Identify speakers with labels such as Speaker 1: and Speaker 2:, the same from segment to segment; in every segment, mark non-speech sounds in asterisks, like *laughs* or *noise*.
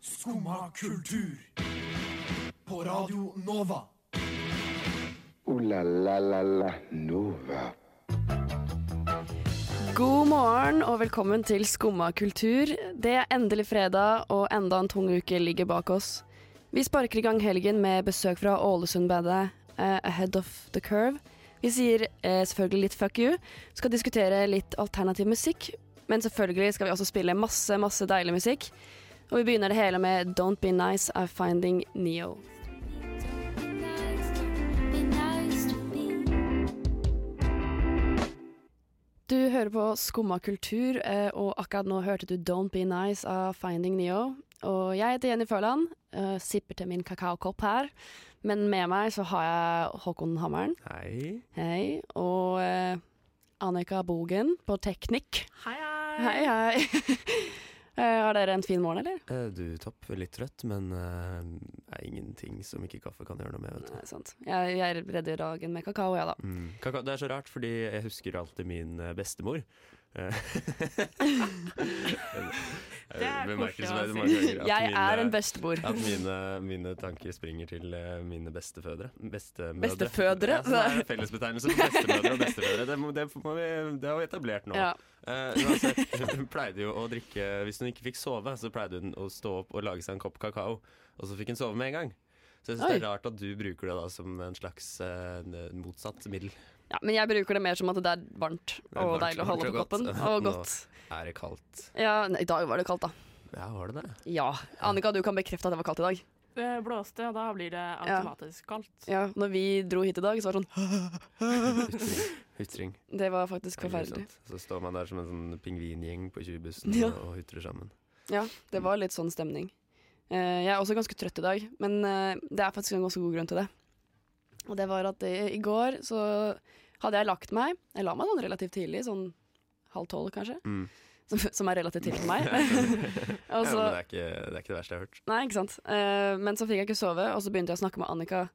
Speaker 1: Skumma kultur. På Radio Nova.
Speaker 2: Ooh la la la la Nova.
Speaker 3: God morgen og velkommen til Skumma kultur. Det er endelig fredag, og enda en tung uke ligger bak oss. Vi sparker i gang helgen med besøk fra Ålesundbandet eh, Ahead of the Curve. Vi sier eh, selvfølgelig litt fuck you, skal diskutere litt alternativ musikk, men selvfølgelig skal vi også spille masse, masse deilig musikk. Og vi begynner det hele med Don't Be Nice of Finding Neo. Du hører på Skumma kultur, eh, og akkurat nå hørte du Don't Be Nice av Finding Neo. Og jeg heter Jenny Førland, eh, sipper til min kakaokopp her. Men med meg så har jeg Håkon Hammeren,
Speaker 4: Hei.
Speaker 3: hei, og eh, Annika Bogen på Teknikk.
Speaker 5: Hei, hei.
Speaker 3: Hei, hei. *laughs* Eh, Har dere en fin morgen, eller?
Speaker 4: Eh, Du, Topp. Litt trøtt, men eh, det er ingenting som ikke kaffe kan gjøre noe med. Vet du.
Speaker 3: Nei, sant. Jeg, jeg redder dagen med kakao, jeg, da.
Speaker 4: Mm. Kaka, det er så rart, fordi jeg husker alltid min eh, bestemor. Eh, *laughs*
Speaker 5: Det
Speaker 4: eh,
Speaker 5: er koselig å
Speaker 4: bemerkelsesverdig
Speaker 5: si.
Speaker 4: mange ganger at
Speaker 3: Jeg
Speaker 4: mine-
Speaker 3: er en bestemor.
Speaker 4: At mine, mine tanker springer til eh, mine bestefødre. Bestemødre.
Speaker 3: Bestefødre?
Speaker 4: Ja, så det er en fellesbetegnelse for bestemødre og bestefødre. Det, må, det, må vi, det har vi etablert nå.
Speaker 3: Ja.
Speaker 4: Eh, uansett, *laughs* hun pleide jo å drikke Hvis hun ikke fikk sove, så pleide hun å stå opp og lage seg en kopp kakao. Og så fikk hun sove med en gang. Så jeg synes det er rart at du bruker det da som en slags eh, n- motsatt middel.
Speaker 3: ja, Men jeg bruker det mer som at det er varmt
Speaker 4: er
Speaker 3: og
Speaker 4: varmt,
Speaker 3: deilig å holde
Speaker 4: varmt
Speaker 3: på
Speaker 4: og
Speaker 3: koppen.
Speaker 4: godt. *laughs*
Speaker 3: Og
Speaker 4: Nå.
Speaker 3: godt.
Speaker 4: Er det kaldt?
Speaker 3: Ja, nei, I dag var det kaldt, da.
Speaker 4: Ja, var
Speaker 3: *laughs*
Speaker 4: det det?
Speaker 3: Ja. Annika, du kan bekrefte at det var kaldt i dag.
Speaker 5: Det eh, blåste, og da blir det automatisk kaldt.
Speaker 3: Ja, Når vi dro hit i dag, så var *laughs* det sånn
Speaker 4: Hutring. Hutring.
Speaker 3: Det var faktisk
Speaker 4: Det er
Speaker 3: forferdelig.
Speaker 4: grusomt. Så står man der som en sånn pingvingjeng på 20-bussen
Speaker 3: Ja.
Speaker 4: og hutrer sammen.
Speaker 3: Ja, det var litt sånn stemning. Eh, jeg er også ganske trøtt i dag, men eh, det er faktisk en ganske god grunn til det. Og det var at eh, i går så hadde jeg lagt meg Jeg la meg sånn relativt tidlig, sånn halv tolv kanskje,
Speaker 4: Mm.
Speaker 3: *laughs* som, som er relativt tidlig for
Speaker 4: *laughs*
Speaker 3: meg. *laughs* og
Speaker 4: ja,
Speaker 3: så,
Speaker 4: men det er, ikke, det er ikke det verste jeg har hørt.
Speaker 3: nei, ikke sant. Eh, men så fikk jeg ikke sove, og så begynte jeg å snakke med Annika.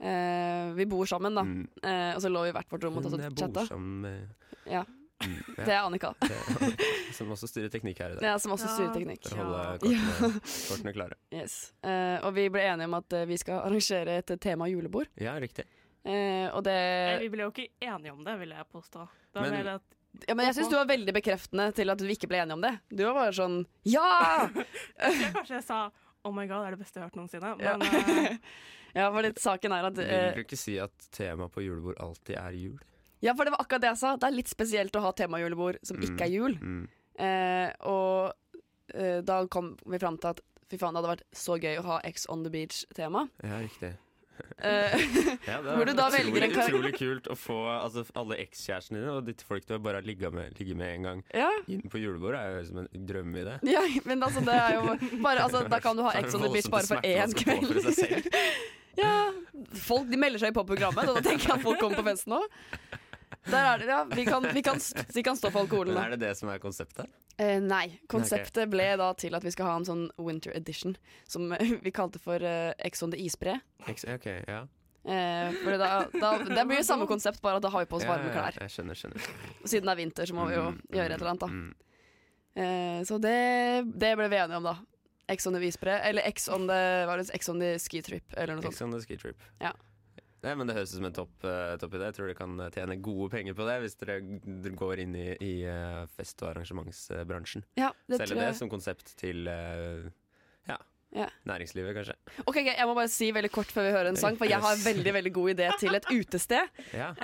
Speaker 3: Eh, vi bor sammen, da.
Speaker 4: Mm.
Speaker 3: Eh, og så lå vi i hvert vårt rom og
Speaker 4: Hun
Speaker 3: tatt
Speaker 4: jeg
Speaker 3: og
Speaker 4: bor
Speaker 3: chatta.
Speaker 4: sammen med,
Speaker 3: Ja,
Speaker 4: mm,
Speaker 3: *laughs*
Speaker 4: ja,
Speaker 3: det er Annika.
Speaker 4: det- *laughs* som også styrer teknikk her i dag.
Speaker 3: Ja, som også
Speaker 5: Ja.
Speaker 3: styrer teknikk.
Speaker 4: For å holde
Speaker 3: *laughs*
Speaker 5: Ja.
Speaker 4: kortene, kortene klare.
Speaker 3: Yes. Eh, og vi ble enige om at eh, vi skal arrangere et tema julebord.
Speaker 4: Ja, riktig.
Speaker 3: Eh, og
Speaker 5: Eh,
Speaker 3: det
Speaker 5: Vi ble jo ikke enige om det, vil jeg påstå. Da
Speaker 4: Men-
Speaker 5: ble det at
Speaker 3: ja, Men jeg syns du var veldig bekreftende til at du ikke ble enige om det. Du var bare sånn
Speaker 5: *laughs*
Speaker 3: Ja!
Speaker 5: jeg kanskje sa Oh my god, det er det beste jeg har hørt noensinne.
Speaker 3: Ja.
Speaker 5: Men
Speaker 3: *laughs*
Speaker 5: eh,
Speaker 3: Ja, for litt saken er at
Speaker 4: Vil
Speaker 3: eh,
Speaker 4: du ikke si at temaet på julebord alltid er jul?
Speaker 3: Ja, for det var akkurat det jeg sa. Det er litt spesielt å ha temajulebord som ikke er jul.
Speaker 4: Mm.
Speaker 3: Eh, og eh, da kom vi fram til at fy faen, det hadde vært så gøy å ha X on the beach-tema.
Speaker 4: Ja, riktig. *laughs*
Speaker 3: Eh,
Speaker 4: Ja, det
Speaker 3: Hvor du da
Speaker 4: utrolig,
Speaker 3: velger en kar-
Speaker 4: utrolig kult å få altså, alle ekskjærestene dine og ditt folk du har bare har ligget med, ligget med en gang,
Speaker 3: ja.
Speaker 4: inn på julebordet. er jo som en drømmeidé.
Speaker 3: ja, men altså, det er jo bare altså, Da kan du ha
Speaker 4: Så er det
Speaker 3: X on the beach
Speaker 4: voldsomt
Speaker 3: bare for
Speaker 4: smerte man
Speaker 3: én
Speaker 4: skal
Speaker 3: kveld.
Speaker 4: påføre
Speaker 3: *laughs*
Speaker 4: seg selv.
Speaker 3: Ja, folk de melder seg på programmet, og da tenker jeg at folk kommer på festen òg. Der er det, ja. Vi kan, vi kan, vi kan stå på alkoholen.
Speaker 4: Men
Speaker 3: da.
Speaker 4: er det det som er konseptet?
Speaker 3: Eh, nei. Konseptet ble da til at vi skal ha en sånn winter edition, som eh, vi kalte for eh, Ex on the isbre.
Speaker 4: Eks- Ok, ja.
Speaker 3: Eh, for da, da, det blir jo samme konsept, bare at da har vi på oss
Speaker 4: Ja,
Speaker 3: varme
Speaker 4: ja,
Speaker 3: klær.
Speaker 4: Jeg skjønner, skjønner.
Speaker 3: Og siden det er vinter, så må vi jo
Speaker 4: Mm,
Speaker 3: gjøre et eller annet, da.
Speaker 4: mm, mm.
Speaker 3: Eh, så det, det ble vi enige om, da. Ex on the isbre, eller Ex on the, hva var det, Ex on the ski trip, eller noe sånt.
Speaker 4: Ex on the ski trip.
Speaker 3: Ja.
Speaker 4: Nei, men Det høres ut som en topp, eh, topp idé. Jeg tror dere kan eh, tjene gode penger på det hvis dere g- går inn i, i eh, fest- og arrangementsbransjen.
Speaker 3: Ja, det
Speaker 4: Selge
Speaker 3: tror
Speaker 4: det
Speaker 3: jeg.
Speaker 4: som konsept til eh, ja,
Speaker 3: Ja.
Speaker 4: næringslivet, kanskje.
Speaker 3: Ok, greit, Jeg må bare si veldig kort før vi hører en sang, for jeg har en veldig veldig god idé til et utested.
Speaker 4: Ja,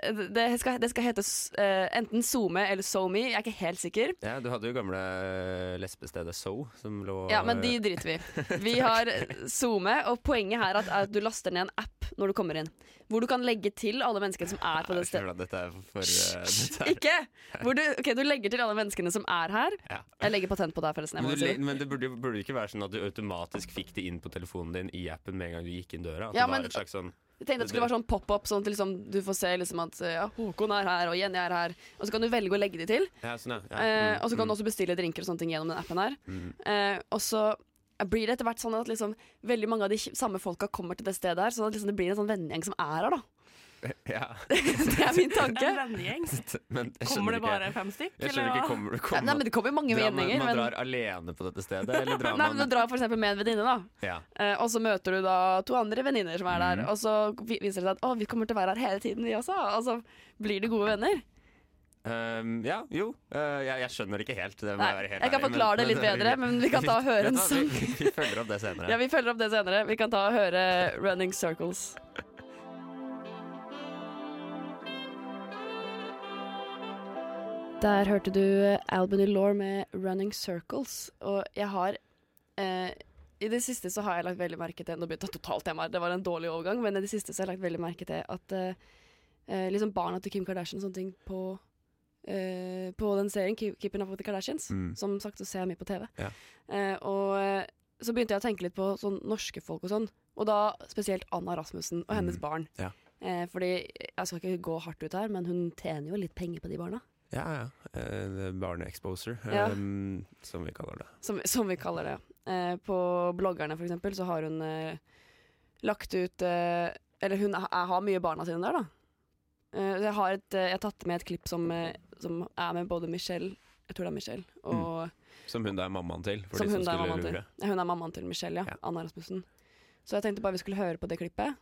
Speaker 3: Eh, det, skal, det skal hete s- eh, enten SoMe eller SoMe, jeg er ikke helt sikker.
Speaker 4: ja Du hadde jo gamle eh, lesbestedet So, som lå eh,
Speaker 3: Ja, Men de driter vi i.
Speaker 4: *laughs*
Speaker 3: Vi har SoMe, og poenget her er at, er at du laster ned en app når du kommer inn. Hvor du kan legge til alle menneskene som er på det
Speaker 4: Jeg
Speaker 3: stedet.
Speaker 4: skjønner at dette er for eh, dette er,
Speaker 3: Ikke! Hvor du, ok, du legger til alle menneskene som er her.
Speaker 4: Ja.
Speaker 3: Jeg legger patent på det her, forresten. Jeg
Speaker 4: men,
Speaker 3: må
Speaker 4: du,
Speaker 3: si.
Speaker 4: le- men det burde jo burde jo ikke være sånn at du automatisk fikk det inn på telefonen din i appen med en gang du gikk inn døra. At
Speaker 3: Ja,
Speaker 4: det var
Speaker 3: men-
Speaker 4: et slags sånn
Speaker 3: Jeg tenkte at det skulle være sånn pop-up, sånn at liksom, du får se liksom at ja, Håkon er her, og Jenny er her. Og så kan du velge å legge de til.
Speaker 4: Ja, sånn, ja. ja.
Speaker 3: Eh,
Speaker 4: mm,
Speaker 3: og så kan du
Speaker 4: mm.
Speaker 3: også bestille drinker og sånne ting gjennom den appen her. Eh, og så blir det etter hvert sånn at liksom, veldig mange av de kj- samme folka kommer til det stedet her, så at liksom, det blir en sånn vennegjeng som sånn er her, da. *laughs*
Speaker 4: Ja, *laughs*
Speaker 3: Det er min tanke.
Speaker 5: En vennegjeng?
Speaker 4: men jeg
Speaker 5: Kommer
Speaker 4: skjønner
Speaker 5: det
Speaker 4: ikke
Speaker 5: bare fem stykk?
Speaker 4: Jeg skjønner
Speaker 5: eller
Speaker 4: ikke,
Speaker 5: hva?
Speaker 4: kommer,
Speaker 3: Nei,
Speaker 4: kommer,
Speaker 3: men Det kommer jo mange
Speaker 4: drar man,
Speaker 3: gjenninger.
Speaker 4: man
Speaker 3: Men,
Speaker 4: drar alene på dette stedet, eller
Speaker 3: *laughs*
Speaker 4: drar
Speaker 3: nei, men
Speaker 4: man
Speaker 3: Du drar f.eks. med en venninne, da.
Speaker 4: ja.
Speaker 3: Eh, og så møter du da to andre venninner som er der.
Speaker 4: Mhm.
Speaker 3: Og så vi- viser det seg at å, vi kommer til å være her hele tiden, vi også. Og så blir de gode venner.
Speaker 4: Ehm, ja, jo. Eh, jeg, jeg skjønner ikke helt. Det må
Speaker 3: Nei,
Speaker 4: jeg være helt
Speaker 3: jeg kan
Speaker 4: ærlig, men-
Speaker 3: forklare det litt
Speaker 4: *laughs* men-
Speaker 3: bedre, men vi kan ta og høre en
Speaker 4: Vet du hva,
Speaker 3: sang.
Speaker 4: Vi, vi følger opp det senere.
Speaker 3: Ja, Vi følger opp det senere. Vi kan ta og høre 'Running Circles'. Der hørte du Albany Law med 'Running Circles'. Og jeg har eh, I det siste så har jeg lagt veldig merke til Nå begynte jeg totalt temaer, det var en dårlig overgang, men i det siste så har jeg lagt veldig merke til at eh, eh, liksom barna til Kim Kardashian og sånne ting på eh, på den serien Keep- 'Keeping Up With The Kardashians'.
Speaker 4: Mm.
Speaker 3: Som sagt så ser jeg mye på TV.
Speaker 4: Ja.
Speaker 3: Eh, og eh, så begynte jeg å tenke litt på sånn norske folk og sånn. Og da spesielt Anna Rasmussen og hennes
Speaker 4: Mm,
Speaker 3: barn.
Speaker 4: ja.
Speaker 3: Eh, fordi jeg skal ikke gå hardt ut her, men hun tjener jo litt penger på de barna.
Speaker 4: Ja, ja. Eh, Barneexposer,
Speaker 3: Ja.
Speaker 4: ehm, som vi kaller det.
Speaker 3: Som, *laughs* som vi kaller det. Eh, på bloggerne, for eksempel, så har hun eh, lagt ut eh, Eller hun ha- jeg har mye barna sine der, da. Eh, så jeg, har et, eh, jeg har tatt med et klipp som, eh, som er med både Michelle Jeg tror det er Michelle. Og
Speaker 4: Mm. Som hun da er mammaen til. For
Speaker 3: Som
Speaker 4: de som
Speaker 3: hun da er
Speaker 4: skulle
Speaker 3: mammaen til.
Speaker 4: lure.
Speaker 3: Ja, Hun er mammaen til Michelle, ja.
Speaker 4: Ja.
Speaker 3: Anna Rasmussen. Så jeg tenkte bare vi skulle høre på det klippet.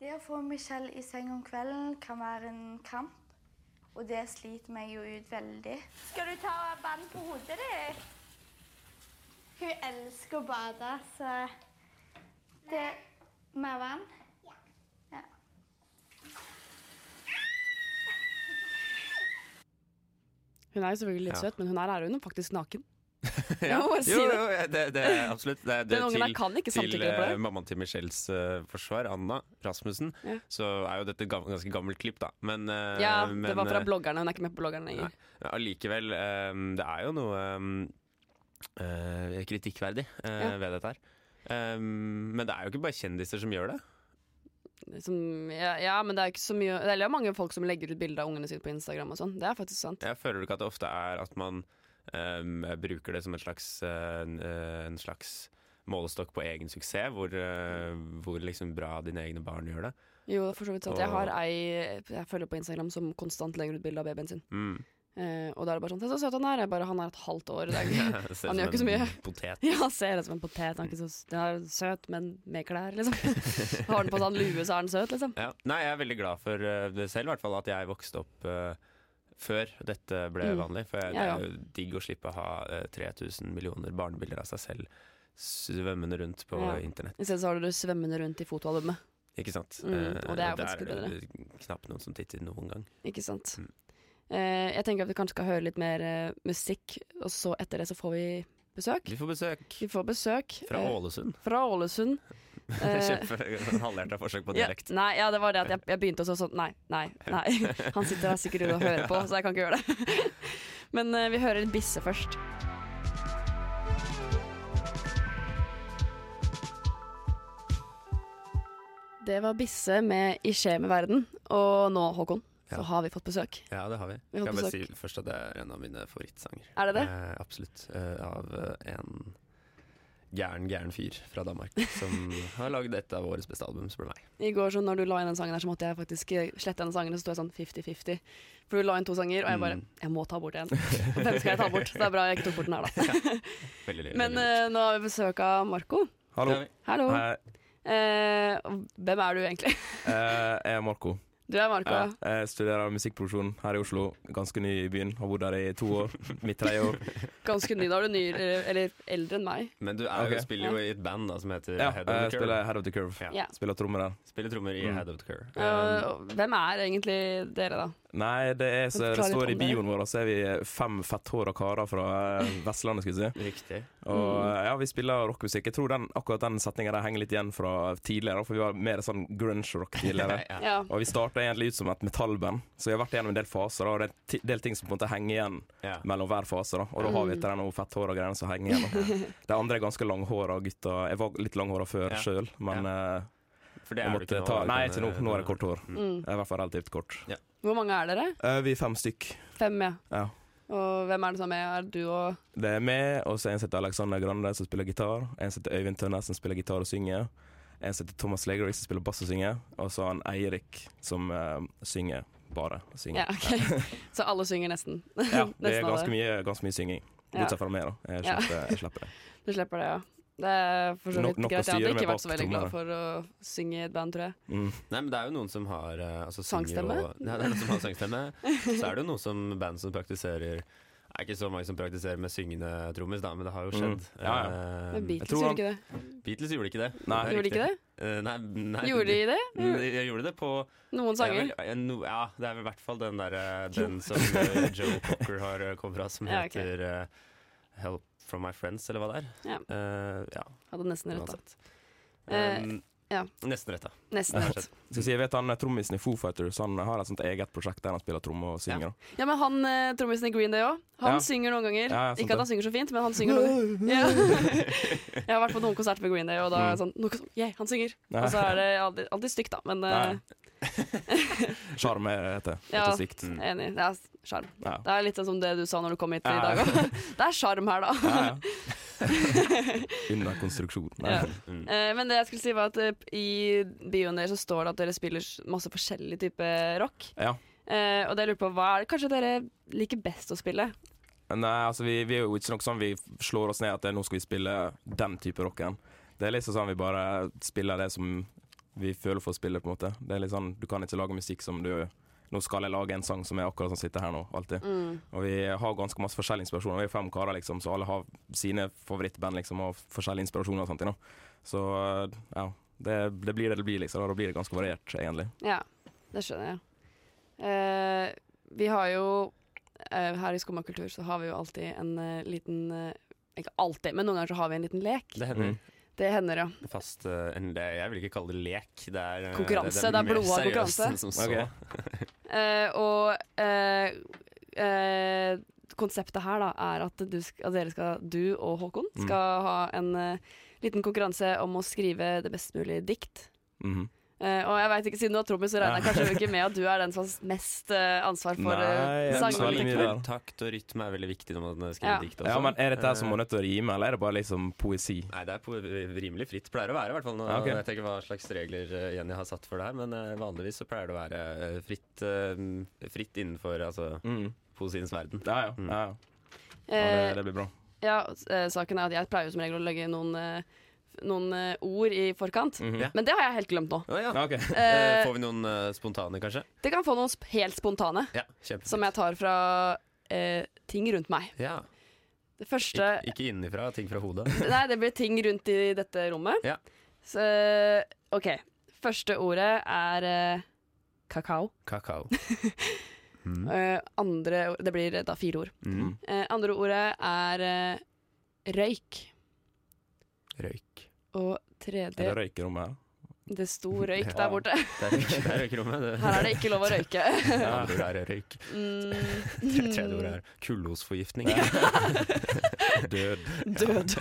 Speaker 6: Det å få Michelle i seng om kvelden kan være en kamp, og det sliter meg jo ut veldig.
Speaker 7: Skal du ta vann på hodet ditt?
Speaker 6: Hun elsker å bade, så det Mer vann? Ja.
Speaker 3: Hun er jo selvfølgelig litt
Speaker 4: Ja.
Speaker 3: søt, men hun her er hun jo faktisk naken.
Speaker 4: *laughs* Ja.
Speaker 3: må bare si
Speaker 4: Jo,
Speaker 3: det.
Speaker 4: jo, ja, det, det er absolutt. Det, er- det,
Speaker 3: Den ungen
Speaker 4: til,
Speaker 3: her kan ikke
Speaker 4: til
Speaker 3: samtykke på
Speaker 4: eh,
Speaker 3: det.
Speaker 4: mammaen til Michelles eh, forsvar, Anna Rasmussen,
Speaker 3: Ja.
Speaker 4: så er jo dette et gam- ganske gammelt klipp, da. Men, eh,
Speaker 3: Ja, det
Speaker 4: men,
Speaker 3: var fra
Speaker 4: eh,
Speaker 3: bloggerne. Hun er ikke med på bloggerne lenger.
Speaker 4: Men Allikevel, ehm, det er jo noe ehm, eh, kritikkverdig eh,
Speaker 3: Ja.
Speaker 4: ved dette her. Ehm, men det er jo ikke bare kjendiser som gjør det.
Speaker 3: Som, ja, ja, men det er ikke så mye Det er jo mange folk som legger ut bilder av ungene sine på Instagram og sånn. Det er faktisk sant.
Speaker 4: Jeg føler du ikke at det ofte er at man ehm, bruker det som en slags, eh, en, eh, en slags målestokk på egen suksess, hvor, eh, hvor liksom bra dine egne barn gjør det.
Speaker 3: Jo, for så vidt sant. Jeg har ei jeg følger på Instagram som konstant legger ut bilde av babyen sin.
Speaker 4: Mm. *laughs*
Speaker 3: Eh, og da er det bare sånn Se så søt han er. Jeg bare, han er et halvt år. Det er ikke *laughs*
Speaker 4: *laughs* Ser ut som
Speaker 3: gjør ikke
Speaker 4: en
Speaker 3: så mye.
Speaker 4: Potet.
Speaker 3: Ja, han ser ut som en potet. Han er, ikke så, han er søt, men med klær, liksom. *laughs* Har han på sånn lue, så er han søt, liksom.
Speaker 4: Ja. Nei, jeg er veldig glad for eh, det selv, i hvert fall at jeg vokste opp eh, før dette ble
Speaker 3: Mm.
Speaker 4: vanlig. For jeg, det
Speaker 3: Ja, ja.
Speaker 4: er jo digg å slippe å ha eh, 3000 millioner barnebilder av seg selv svømmende rundt på
Speaker 3: Ja.
Speaker 4: internett.
Speaker 3: I stedet så har du det svømmende rundt i fotoalbumet.
Speaker 4: Ikke sant?
Speaker 3: Mm, og det er jo
Speaker 4: Eh,
Speaker 3: faktisk
Speaker 4: der det knapt noen som titter noen gang.
Speaker 3: Ikke sant.
Speaker 4: Mm.
Speaker 3: Eh, jeg tenker at vi kanskje skal høre litt mer eh, musikk, og så etter det så får vi besøk.
Speaker 4: Vi får besøk
Speaker 3: Vi får besøk
Speaker 4: fra
Speaker 3: eh,
Speaker 4: Ålesund.
Speaker 3: fra Ålesund.
Speaker 4: *laughs*
Speaker 3: Eh,
Speaker 4: Kjempe- Halvhjerta forsøk på
Speaker 3: ja,
Speaker 4: dialekt.
Speaker 3: nei, ja, det var det
Speaker 4: *laughs*
Speaker 3: at jeg, jeg begynte også sånn Nei, nei, nei. Han sitter her sikkert ute og hører på, så jeg kan ikke gjøre det. *laughs* Men eh, vi hører litt Bisse først. Det var Bisse med I skje med verden. Og nå, Håkon,
Speaker 4: Ja.
Speaker 3: så har vi fått besøk.
Speaker 4: Ja, det har vi.
Speaker 3: Vi har
Speaker 4: Kan jeg bare si
Speaker 3: besøk.
Speaker 4: først at det er en av mine favorittsanger.
Speaker 3: Er det det?
Speaker 4: Eh, absolutt. Eh, av eh, en gæren, gæren fyr fra Danmark som
Speaker 3: *laughs*
Speaker 4: har lagd et av årets beste album, spør du meg.
Speaker 3: I går så når du la inn den sangen her, så måtte jeg faktisk eh, slette den sangen. Og så sto jeg sånn 50-50. For du la inn to sanger, og jeg bare
Speaker 4: Mm.
Speaker 3: Jeg må ta bort en. Og Hvem skal jeg ta bort? Så det er bra jeg ikke tok bort den
Speaker 8: *laughs*
Speaker 3: her, da.
Speaker 4: Veldig, veldig
Speaker 3: Men
Speaker 4: lurt.
Speaker 3: eh, nå har vi besøk av Marco.
Speaker 8: Hallo.
Speaker 4: Ja,
Speaker 3: Hallo.
Speaker 8: Hei,
Speaker 3: Eh, og hvem er du egentlig?
Speaker 8: eh, jeg er Marco.
Speaker 3: Du er Marco, ja.
Speaker 8: Jeg, jeg studerer musikkproduksjon her i Oslo. Ganske ny i byen. Har bodd her i to år.
Speaker 3: *laughs*
Speaker 8: Mitt tredje år.
Speaker 3: Ganske ny. Da er du ny, eller eller eldre enn meg.
Speaker 4: Men du er,
Speaker 8: Ok.
Speaker 4: jo spiller jo i et band da, som heter
Speaker 8: Ja,
Speaker 4: Head of the
Speaker 8: jeg
Speaker 4: Curve.
Speaker 8: spiller Head of the Curve.
Speaker 4: Ja.
Speaker 3: Ja.
Speaker 8: Spiller trommer der.
Speaker 4: Spiller trommer i
Speaker 8: Mm.
Speaker 4: Head of the Curve. Um,
Speaker 3: Eh, og hvem er egentlig dere, da?
Speaker 8: Nei, det er så
Speaker 3: Forklar
Speaker 8: det
Speaker 3: litt om
Speaker 8: står i
Speaker 3: det.
Speaker 8: bioen vår, så er vi eh, fem fetthåra karer fra
Speaker 3: *laughs*
Speaker 8: eh, Vestlandet, skulle jeg si. *laughs*
Speaker 4: Riktig.
Speaker 8: Og
Speaker 3: Mm.
Speaker 8: eh, ja, vi spiller rockmusikk. Jeg tror den, akkurat den setninga der henger litt igjen fra tidligere, for vi var mer sånn grunge-rock tidligere.
Speaker 3: *laughs*
Speaker 4: Ja.
Speaker 3: Ja.
Speaker 8: Og vi starta egentlig ut som et metallband, så vi har vært gjennom en del faser, da, og det er en ti- del ting som på en måte henger igjen
Speaker 4: Ja.
Speaker 8: mellom hver fase. da Og da
Speaker 3: Mm.
Speaker 8: har vi etter noe fetthår og greiene som henger igjennom. De andre er ganske langhåra gutter. Jeg var litt langhåra før
Speaker 4: Ja.
Speaker 8: selv sjøl, men eh,
Speaker 4: *laughs* For det
Speaker 8: jeg
Speaker 4: er du
Speaker 8: måtte
Speaker 4: ikke nå.
Speaker 8: ta
Speaker 4: du
Speaker 8: Nei,
Speaker 4: kan-
Speaker 8: ikke nå. Nå er det kort hår.
Speaker 3: Mm.
Speaker 8: Jeg er I hvert fall relativt kort.
Speaker 3: Hvor mange er dere?
Speaker 8: Eh, vi er fem stykk.
Speaker 3: Fem, ja.
Speaker 8: Ja.
Speaker 3: Og hvem er det som er med? Er det du og
Speaker 8: Det er meg, og så en som heter Alexander Grande, som spiller gitar. En som heter Øyvind Tønnes, som spiller gitar og synger. En som heter Thomas Legery, som spiller bass og synger. Og så har han Eirik, som eh, synger bare. Synger.
Speaker 3: Ja,
Speaker 8: *laughs*
Speaker 3: ok. Så alle synger nesten. *laughs*
Speaker 8: Ja, det
Speaker 3: Nesten
Speaker 8: er
Speaker 3: alle.
Speaker 8: ganske mye, ganske mye synging.
Speaker 3: Ja.
Speaker 8: Bortsett fra meg, da. Jeg
Speaker 3: Ja.
Speaker 8: slipper, jeg slipper det.
Speaker 3: Du slipper det, ja. Det er for så
Speaker 8: No-
Speaker 3: vidt
Speaker 8: nok
Speaker 3: greit.
Speaker 8: å
Speaker 3: Jeg
Speaker 8: styre
Speaker 3: hadde
Speaker 8: med
Speaker 3: ikke vært så
Speaker 8: bak
Speaker 3: veldig glad
Speaker 8: trommene.
Speaker 3: for å synge i et band, tror jeg.
Speaker 8: Mm.
Speaker 4: Nei, men det er jo noen som har eh, altså, synger
Speaker 3: Sangstemme?
Speaker 4: Og, Nei, det er noen som har sangstemme.
Speaker 3: *laughs*
Speaker 4: Så er det jo noen som band som praktiserer Det er ikke så mange som praktiserer med syngende trommis, da, men det har jo
Speaker 8: Mm.
Speaker 4: skjedd.
Speaker 8: Ja,
Speaker 4: Eh,
Speaker 3: Men Beatles
Speaker 8: tror
Speaker 3: gjorde
Speaker 8: han-
Speaker 3: ikke det.
Speaker 4: Beatles gjorde ikke det.
Speaker 8: Nei.
Speaker 4: er
Speaker 3: Gjorde de
Speaker 4: riktig.
Speaker 3: ikke det?
Speaker 4: Eh, nei, nei,
Speaker 3: Gjorde de det?
Speaker 4: Mm, Jeg gjorde det på
Speaker 3: Noen
Speaker 4: det er
Speaker 3: sanger?
Speaker 4: vel- eh, no- Ja, det er vel i hvert fall den der eh, Den
Speaker 3: *laughs*
Speaker 4: som eh, Joe Cocker har eh, kommet fra, som
Speaker 3: Ja, ok.
Speaker 4: heter eh, Help From My Friends, eller hva det er.
Speaker 3: Ja.
Speaker 4: Eh, ja
Speaker 3: Hadde nesten rett. da.
Speaker 4: uansett.
Speaker 3: Eh,
Speaker 4: Um,
Speaker 3: ja.
Speaker 4: Nesten rett, da.
Speaker 3: Nesten rett.
Speaker 8: Skal jeg si, jeg vet han eh, trommisen i Foo Fighters han har et sånt eget prosjekt der han spiller tromme og synger.
Speaker 3: Ja, men han eh, trommisen i Green Day òg. Han
Speaker 8: Ja.
Speaker 3: synger noen ganger.
Speaker 8: Ja, ja, sant
Speaker 3: ikke at han synger så fint, men han synger noen ganger. Ja. *laughs* jeg har vært på noen konserter med Green Day, og da
Speaker 8: Mm.
Speaker 3: er det sånn noe sånn, yeah, han synger.
Speaker 8: Ja.
Speaker 3: Og så er det aldri, aldri stygt, da, men eh,
Speaker 8: da. Sjarm er det eh, heter.
Speaker 3: Ja.
Speaker 8: Ikke sikt.
Speaker 4: Mm.
Speaker 3: jeg er enig. Det er sjarm.
Speaker 8: Mm. Ja.
Speaker 3: Det er litt sånn som det du sa når du kom hit i
Speaker 8: Ja.
Speaker 3: dag òg. *laughs* det er sjarm her, da. *laughs*
Speaker 8: Ja, ja. Under konstruksjon. Nei.
Speaker 3: Ja.
Speaker 4: Mm.
Speaker 3: Eh, men det jeg skulle si var at eh, i bioen deres så står det at dere spiller s- masse forskjellig type rock.
Speaker 8: Ja.
Speaker 3: Eh, og det jeg lurer på, hva er det kanskje dere liker best å spille?
Speaker 8: Nei, altså vi, vi er jo ikke noe sånn vi slår oss ned at eh, nå skal vi spille den type rocken. Det er liksom sånn vi bare spiller det som vi føler for å spille, på en måte. Det er litt sånn, Du kan ikke lage musikk som du Nå skal jeg lage en sang som er akkurat sånn som sitter her nå, alltid. Og vi har ganske masse forskjellig inspirasjon. Vi er fem karer, liksom, så alle har sine favorittband liksom, og forskjellig inspirasjon og sånt. You know. Så eh, ja. Det, det blir det det blir, liksom. og Da blir det ganske variert, egentlig.
Speaker 3: Ja, det skjønner jeg. Eh, vi har jo eh, Her i Skumma kultur så har vi jo alltid en eh, liten eh, Ikke alltid, men noen ganger så har vi en liten lek.
Speaker 4: Det hender.
Speaker 8: Mm.
Speaker 3: Det hender, ja.
Speaker 4: Fast eh, en, det, Jeg vil ikke kalle det lek. Det er, eh,
Speaker 3: Konkurranse, det er
Speaker 4: mer
Speaker 3: blodhard
Speaker 4: seriøst
Speaker 3: konkurranse.
Speaker 4: enn Som så.
Speaker 8: Ok.
Speaker 3: Eh, og eh, eh, konseptet her da er at, du, sk- at dere skal, du og Håkon
Speaker 8: Mm.
Speaker 3: skal ha en eh, liten konkurranse om å skrive det best mulige dikt.
Speaker 8: Mhm.
Speaker 3: Eh, og jeg vet ikke, Siden du har trommis, så regner jeg kanskje ikke med at du er den
Speaker 8: *laughs*
Speaker 3: som har mest eh, ansvar for
Speaker 8: Nei,
Speaker 3: uh,
Speaker 8: jeg er ikke så veldig mye
Speaker 3: sangene.
Speaker 8: der.
Speaker 4: Vel, Takt og rytme er veldig viktig når man eh, skriver
Speaker 3: Ja.
Speaker 4: dikt. Også.
Speaker 8: Ja, men Er dette her som
Speaker 4: Eh,
Speaker 8: må nødt til å rime, eller er det bare liksom poesi?
Speaker 4: Nei, det er på, rimelig fritt. Pleier å være, i hvert fall. Nå,
Speaker 8: Ja, ok.
Speaker 4: Jeg vet ikke hva slags regler eh, Jenny har satt for det her, men eh, vanligvis så pleier det å være eh, fritt, eh, fritt innenfor altså,
Speaker 8: Mm.
Speaker 4: poesiens verden.
Speaker 8: Ja, ja.
Speaker 4: Mm.
Speaker 8: ja, ja. ja
Speaker 3: Eh,
Speaker 8: det, det blir bra.
Speaker 3: ja, eh, saken er at jeg pleier jo som regel å legge noen, eh, noen eh, ord i forkant.
Speaker 8: Mhm.
Speaker 4: Ja.
Speaker 3: Men det har jeg helt glemt nå.
Speaker 4: Å ja.
Speaker 8: Ja, ok.
Speaker 4: Eh,
Speaker 3: Eh,
Speaker 4: Får vi noen eh, spontane, kanskje?
Speaker 3: det kan få noen sp- helt spontane,
Speaker 4: Ja, kjempefint.
Speaker 3: som jeg tar fra eh, ting rundt meg.
Speaker 4: ja.
Speaker 3: Det første
Speaker 4: Ikke, ikke innenfra, ting fra hodet.
Speaker 3: *laughs* Nei, det blir ting rundt i dette rommet.
Speaker 4: Ja.
Speaker 3: Så, OK. Første ordet er eh, kakao.
Speaker 4: Kakao.
Speaker 3: Eh, andre ord- Det blir da fire ord.
Speaker 4: Mm.
Speaker 3: Eh, andre ordet er eh, røyk.
Speaker 4: Røyk.
Speaker 3: Og
Speaker 8: Er
Speaker 3: tredje
Speaker 8: det røyk i rommet her?
Speaker 3: Det sto røyk
Speaker 4: *laughs* Ja.
Speaker 3: der borte.
Speaker 4: Det er røyk- det er røykerommet. Det.
Speaker 3: Her er
Speaker 4: *laughs*
Speaker 3: det ikke lov å røyke.
Speaker 4: Andre ord er røyk.
Speaker 3: Mm,
Speaker 4: Tredje ordet er
Speaker 3: *laughs*
Speaker 4: kullosforgiftning.
Speaker 8: Død.
Speaker 3: død.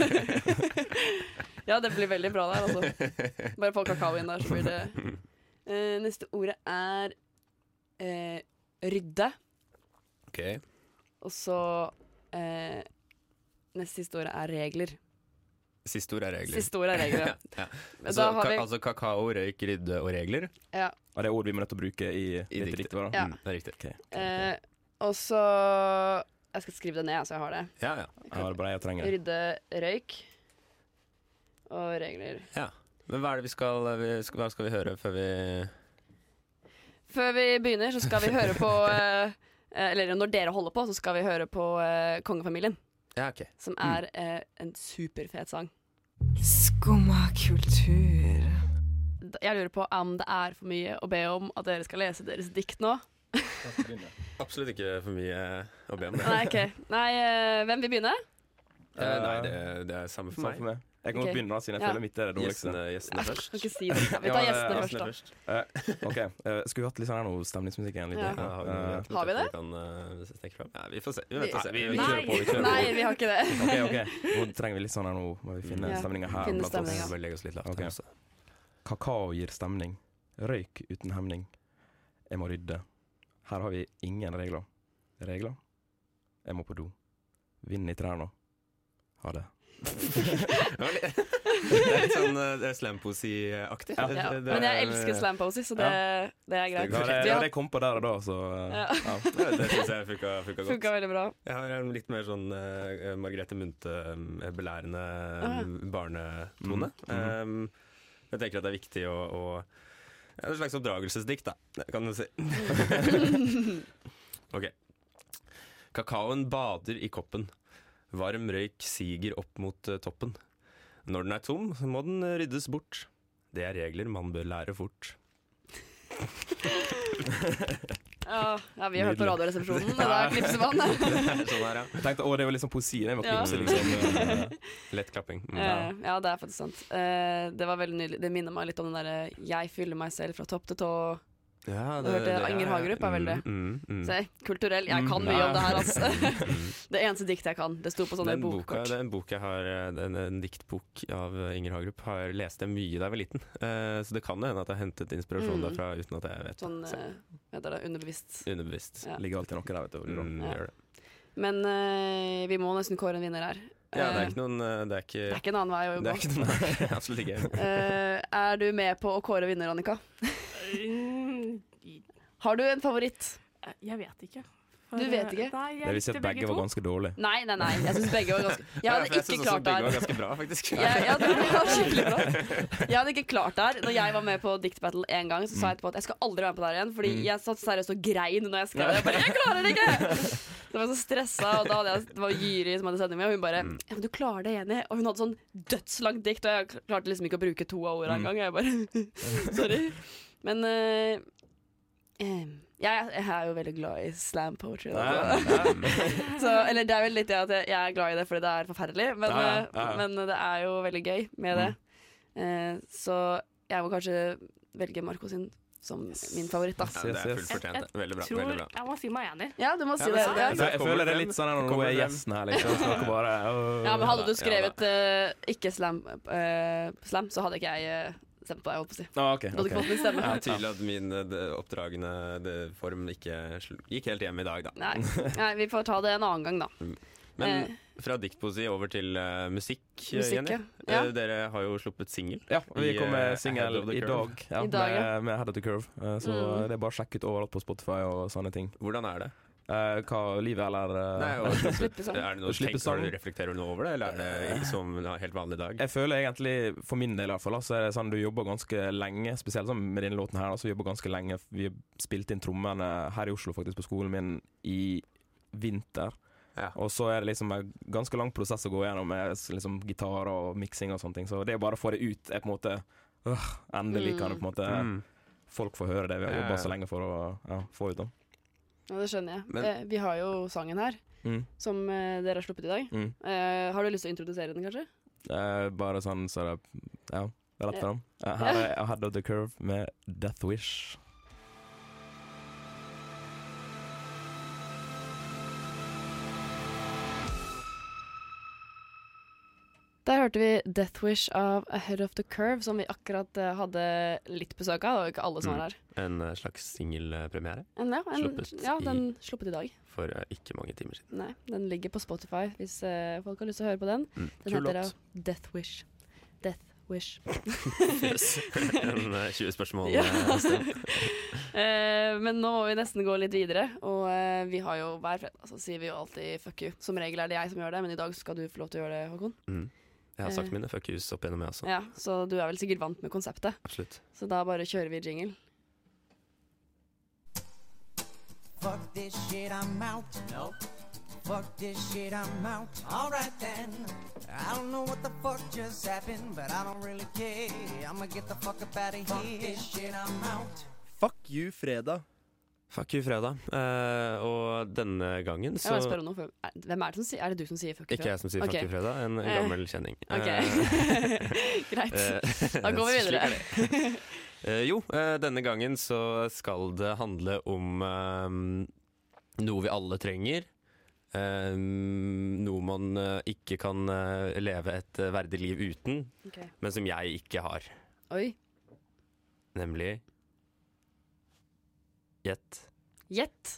Speaker 4: *laughs*
Speaker 3: ja, det blir veldig bra der, altså. Bare få kakao inn der, så blir det
Speaker 4: *laughs*
Speaker 3: Eh, Neste ordet er eh, rydde.
Speaker 4: Ok.
Speaker 3: Og så eh, Neste siste ordet er regler.
Speaker 4: Siste ord er regler.
Speaker 3: Siste ordet er regler, ja.
Speaker 4: *laughs* Ja.
Speaker 3: Men
Speaker 4: Så,
Speaker 3: da har
Speaker 4: ka
Speaker 3: vi
Speaker 4: altså kakao, røyk, rydde og regler.
Speaker 3: ja,
Speaker 8: Og det er ord vi må nødt til å bruke i, I
Speaker 4: diktet.
Speaker 8: dette diktet. vårt, da?
Speaker 3: Ja.
Speaker 4: Mm, det er riktig.
Speaker 8: Ok, ok,
Speaker 3: eh, Og så Jeg skal skrive det ned, så jeg har det.
Speaker 4: Ja, ja.
Speaker 8: ok. Ja, det er bare jeg trenger. det.
Speaker 3: Rydde røyk og regler.
Speaker 4: ja. Men hva er det vi skal, eh, vi skal Hva skal vi høre før vi
Speaker 3: Før vi begynner, så skal vi høre på eh, Eller når dere holder på, så skal vi høre på eh, Kongefamilien.
Speaker 4: Ja, ok.
Speaker 3: Som er eh, en superfet sang.
Speaker 9: Skumma kultur.
Speaker 3: D- Jeg lurer på om det er for mye å be om at dere skal lese deres dikt nå.
Speaker 4: Absolutt ikke for mye å be om. Det.
Speaker 3: Nei, ok. Nei, eh, hvem vil begynne?
Speaker 4: Eh, nei, det, det er samme for
Speaker 8: Samme
Speaker 4: meg.
Speaker 8: for meg. Jeg kan
Speaker 3: Ok.
Speaker 8: godt begynne, da, siden jeg
Speaker 3: Ja.
Speaker 8: føler mitt er det dårligste.
Speaker 4: Gjestene, gjestene
Speaker 3: Kan
Speaker 4: først.
Speaker 3: ikke si det. Vi
Speaker 8: Ja,
Speaker 3: tar
Speaker 8: det-
Speaker 3: gjestene først,
Speaker 4: Gjestene
Speaker 3: da.
Speaker 4: først.
Speaker 8: Ok, eh, Skulle vi hatt litt sånn her noe stemningsmusikk igjen? Litt,
Speaker 3: Ja.
Speaker 4: Ja, har, vi noe
Speaker 8: Eh,
Speaker 4: greit?
Speaker 3: Har vi det?
Speaker 4: Vi, kan, eh, snakke fram. Nei, vi får se. Vi, vet
Speaker 3: Vi-
Speaker 4: og se.
Speaker 8: vi-
Speaker 4: vi kjører på. Vi kjører
Speaker 3: Nei,
Speaker 4: på.
Speaker 3: vi har ikke det.
Speaker 8: eh,
Speaker 3: *laughs*
Speaker 8: ok, ok. Nå trenger vi litt sånn her nå må vi finne
Speaker 3: Ja,
Speaker 8: stemninga her.
Speaker 3: finne
Speaker 8: blant oss.
Speaker 4: Vi
Speaker 3: stemninga.
Speaker 4: må bare legge oss litt lavt altså.
Speaker 8: Ok.
Speaker 4: her
Speaker 8: *laughs*
Speaker 4: også.
Speaker 8: Kakao gir stemning. Røyk uten hemning. Jeg må rydde. Her har vi ingen regler. Regler? Jeg må på do. Vind i trærne. Ha det.
Speaker 4: *laughs* Det er litt sånn uh, slampoesi-aktig. Det-
Speaker 3: Ja.
Speaker 4: det- det
Speaker 3: Men jeg
Speaker 4: er-
Speaker 3: elsker slam poesy, så det, det er greit.
Speaker 4: Det
Speaker 8: Ja, det,
Speaker 4: Vi
Speaker 8: ja,
Speaker 3: har-
Speaker 8: det kom på der og da, så eh,
Speaker 3: Ja.
Speaker 8: ja.
Speaker 4: Ja, Det syns jeg funka, funka godt.
Speaker 3: Funka veldig bra.
Speaker 4: Jeg har en litt mer sånn eh, Margrethe Munthe-belærende mm,
Speaker 3: ja.
Speaker 4: barnetone. Um, jeg tenker at det er viktig å, å ja, det er Et slags oppdragelsesdikt, da, det kan du si.
Speaker 3: *laughs*
Speaker 4: ok. Kakaoen bader i koppen. Varm røyk siger opp mot eh, toppen. Når den er tom, så må den eh, ryddes bort. Det er regler man bør lære fort. *laughs*
Speaker 3: Ja, ja, vi har hørt på
Speaker 8: Nydelig.
Speaker 3: Radioresepsjonen, og da knipser man.
Speaker 4: Det *laughs* er sånn her, ja.
Speaker 8: Jeg tenkte å, det var liksom poesi. Det var
Speaker 3: Ja.
Speaker 8: knipse,
Speaker 4: *laughs*
Speaker 8: liksom. eh,
Speaker 4: Lett klapping. Mm.
Speaker 3: Eh, Ja, det er faktisk sant. Eh, Det var veldig nydelig. Det minner meg litt om den derre 'jeg fyller meg selv fra topp til tå'.
Speaker 4: Ja,
Speaker 3: Du hørte Anger Hagerup er vel det.
Speaker 4: Mm, mm, mm.
Speaker 3: Se, kulturell. Jeg kan mye om det her,
Speaker 4: *laughs*
Speaker 3: altså. *laughs* Det eneste diktet jeg kan. Det sto på sånne
Speaker 4: Den boka,
Speaker 3: bokkort.
Speaker 4: den boka jeg har, eh, den, en diktbok av eh, Inger Hagerup, har leste jeg mye da jeg var liten. Eh, så det kan jo hende at jeg har hentet inspirasjon
Speaker 3: Mm.
Speaker 4: derfra uten at jeg vet det.
Speaker 3: Sånn, eh, hva heter det, underbevisst.
Speaker 4: Underbevisst.
Speaker 3: Ja.
Speaker 8: Ligger alltid noe der, vet du.
Speaker 4: Mm,
Speaker 3: Ja.
Speaker 4: gjør det.
Speaker 3: Men eh, vi må nesten kåre en vinner her.
Speaker 4: ja, det
Speaker 3: Eh,
Speaker 4: er ikke noen eh, Det er ikke,
Speaker 3: det er ikke en annen vei å
Speaker 4: det
Speaker 3: gå.
Speaker 4: er ikke *laughs* noen, Absolutt ikke.
Speaker 3: *laughs* Eh, er du med på å kåre vinner, Annika?
Speaker 5: Mm,
Speaker 3: Har du en favoritt?
Speaker 5: Jeg vet ikke. eh,
Speaker 3: Du vet ikke?
Speaker 5: Nei, jeg
Speaker 8: Det vil si
Speaker 5: likte
Speaker 8: at begge var
Speaker 4: *laughs*
Speaker 8: ganske dårlige.
Speaker 3: Nei, nei, nei. Jeg syns begge var ganske Jeg
Speaker 4: Ja, for
Speaker 3: hadde ikke
Speaker 4: synes også
Speaker 3: klart det
Speaker 4: begge var
Speaker 3: her.
Speaker 4: ganske bra, faktisk.
Speaker 3: Jeg,
Speaker 4: *laughs*
Speaker 3: jeg, hadde- det var skikkelig bra. jeg hadde ikke klart det her. Når jeg var med på Diktbattle én gang, så sa jeg etterpå at jeg skal aldri være med på det her igjen. Fordi jeg satt seriøst og grein når jeg skrev det. Jeg bare, jeg klarer det ikke! Så jeg var så stressa, og da hadde jeg, det var Jyri som hadde sending med, og hun bare ja, men 'Du klarer det, Jenny.' Og hun hadde sånn dødslangt dikt, og jeg klarte liksom ikke å bruke to av ordene engang. Jeg bare *laughs* Sorry. Men eh, eh, jeg, jeg er jo veldig glad i slam poetry. Da, så. Så, eller det er vel litt det at jeg, jeg er glad i det fordi det er forferdelig, men,
Speaker 8: Ja, ja, ja, ja.
Speaker 3: eh, men det er jo veldig gøy med det. Eh, så jeg må kanskje velge Marco sin som min favoritt, da.
Speaker 4: Ja, det er fullt
Speaker 5: Jeg- jeg
Speaker 4: fortjent. det. Veldig bra.
Speaker 5: tror
Speaker 4: Veldig bra.
Speaker 5: Jeg må si meg enig.
Speaker 3: Ja, du må si det.
Speaker 4: men så-
Speaker 3: Ja.
Speaker 8: Jeg,
Speaker 4: det kommer
Speaker 8: føler det er
Speaker 4: frem.
Speaker 8: litt sånn her når
Speaker 4: Kommer
Speaker 8: hun er
Speaker 4: frem.
Speaker 8: gjesten her, liksom. Så dere bare øh.
Speaker 3: ja, men hadde du
Speaker 4: Ja, da, ja, da.
Speaker 3: skrevet eh, ikke slam, eh, slam, så hadde ikke jeg eh, stemt på deg, holdt på å si.
Speaker 8: Ah, ok,
Speaker 3: Du hadde ikke
Speaker 8: ok.
Speaker 3: fått min
Speaker 4: *laughs*
Speaker 3: stemme.
Speaker 4: Det er tydelig at min eh, det- oppdragende det- form ikke sl- gikk helt hjem i dag, da.
Speaker 3: Nei. Nei, vi får ta det en annen gang, da.
Speaker 4: Men
Speaker 3: Eh.
Speaker 4: fra diktpoesi over til eh, musikk, eh,
Speaker 3: Musikk,
Speaker 4: Jenny.
Speaker 3: ja.
Speaker 4: Eh, dere har jo sluppet singel.
Speaker 8: Ja, vi
Speaker 4: I,
Speaker 8: kom
Speaker 4: eh,
Speaker 8: med
Speaker 4: Head of
Speaker 8: singel
Speaker 4: the
Speaker 8: i
Speaker 4: Curve.
Speaker 8: dag, ja,
Speaker 3: I dag, ja.
Speaker 8: med, med Head of the Curve. Eh, Så
Speaker 3: Mm.
Speaker 8: det er bare å sjekke ut overalt på Spotify og sånne ting.
Speaker 4: Hvordan er det?
Speaker 8: Eh, hva livet eller eh,
Speaker 4: Nei, *laughs* og,
Speaker 3: Slippe sang.
Speaker 4: er det noe
Speaker 8: Å
Speaker 4: tenker
Speaker 8: slippe
Speaker 4: du-
Speaker 8: sang.
Speaker 4: Reflekterer du noe over det, eller er det som en helt vanlig dag?
Speaker 8: *laughs* Jeg føler egentlig, for min del i hvert fall, da, så er det sånn du jobber ganske lenge, spesielt sånn med denne låten her, da, så jobber ganske lenge. Vi spilte inn trommene her i Oslo, faktisk, på skolen min i vinter.
Speaker 4: Ja.
Speaker 8: Og så er det liksom en ganske lang prosess å gå gjennom med s- liksom gitar og miksing og sånne ting. Så det er bare å få det ut, er på en måte øh, Endelig kan det på en måte
Speaker 4: Mm.
Speaker 8: folk få høre det vi har
Speaker 4: Ja, ja.
Speaker 8: jobba så lenge for å ja, få ut. Da.
Speaker 3: Ja, det skjønner jeg.
Speaker 4: Men-
Speaker 3: Eh, vi har jo sangen her,
Speaker 8: Mm.
Speaker 3: som eh, dere har sluppet i dag.
Speaker 8: Mm.
Speaker 3: Eh, har du lyst til å introdusere den, kanskje?
Speaker 8: Eh, bare sånn så det Ja, rett
Speaker 3: Ja.
Speaker 8: fram. Eh, her er Ahead of the Curve med Death Wish.
Speaker 3: Der hørte vi 'Death Wish' av Ahead of the Curve, som vi akkurat eh, hadde litt besøk av. Det var jo ikke alle som var her.
Speaker 4: En eh, slags singelpremiere
Speaker 3: En, ja, en,
Speaker 4: Sluppet
Speaker 3: ja,
Speaker 4: i-
Speaker 3: den sluppet i dag.
Speaker 4: for eh, ikke mange timer siden.
Speaker 3: Nei, den ligger på Spotify hvis eh, folk har lyst til å høre på den.
Speaker 4: Mm.
Speaker 3: Den heter
Speaker 4: *laughs*
Speaker 3: da 'Death Wish'. Death Wish. *laughs*
Speaker 4: en, eh, 20 spørsmål.
Speaker 3: Ja.
Speaker 4: eh, sted.
Speaker 3: *laughs* Eh, men nå må vi nesten gå litt videre, og eh, vi har jo hver fredag så sier vi jo alltid 'fuck you'. Som regel er det jeg som gjør det, men i dag skal du få lov til å gjøre det, Håkon.
Speaker 4: Mm. Jeg har sagt
Speaker 3: Eh.
Speaker 4: mine fuck yous opp gjennom, jeg også.
Speaker 3: Ja, Så du er vel sikkert vant med konseptet.
Speaker 4: Absolutt.
Speaker 3: Så da bare kjører vi jingle.
Speaker 10: Fuck this shit, I'm out. No. Fuck this shit, I'm out. Alright then. I don't know what the fuck just happened, but I don't really care. I'ma get the fuck up out of here. Fuck this shit, I'm out.
Speaker 1: Fuck you, fredag.
Speaker 4: Fuck you, fredag. Eh, og denne gangen
Speaker 3: Jeg må
Speaker 4: så
Speaker 3: bare spørre om noe, for, er, hvem er det som sier Er det du som sier 'fuck you'?
Speaker 4: Ikke jeg som sier fuck
Speaker 3: Ok.
Speaker 4: you, fredag. En
Speaker 3: Eh.
Speaker 4: gammel kjenning.
Speaker 3: Ok,
Speaker 4: Eh,
Speaker 3: *laughs* greit.
Speaker 4: Eh,
Speaker 3: Da går vi
Speaker 4: slik
Speaker 3: videre.
Speaker 4: er det.
Speaker 3: *laughs*
Speaker 4: Eh, jo, eh, denne gangen så skal det handle om eh, noe vi alle trenger. Eh, noe man eh, ikke kan eh, leve et eh, verdig liv uten,
Speaker 3: Ok.
Speaker 4: men som jeg ikke har.
Speaker 3: Oi.
Speaker 4: Nemlig Gjett.
Speaker 3: Gjett.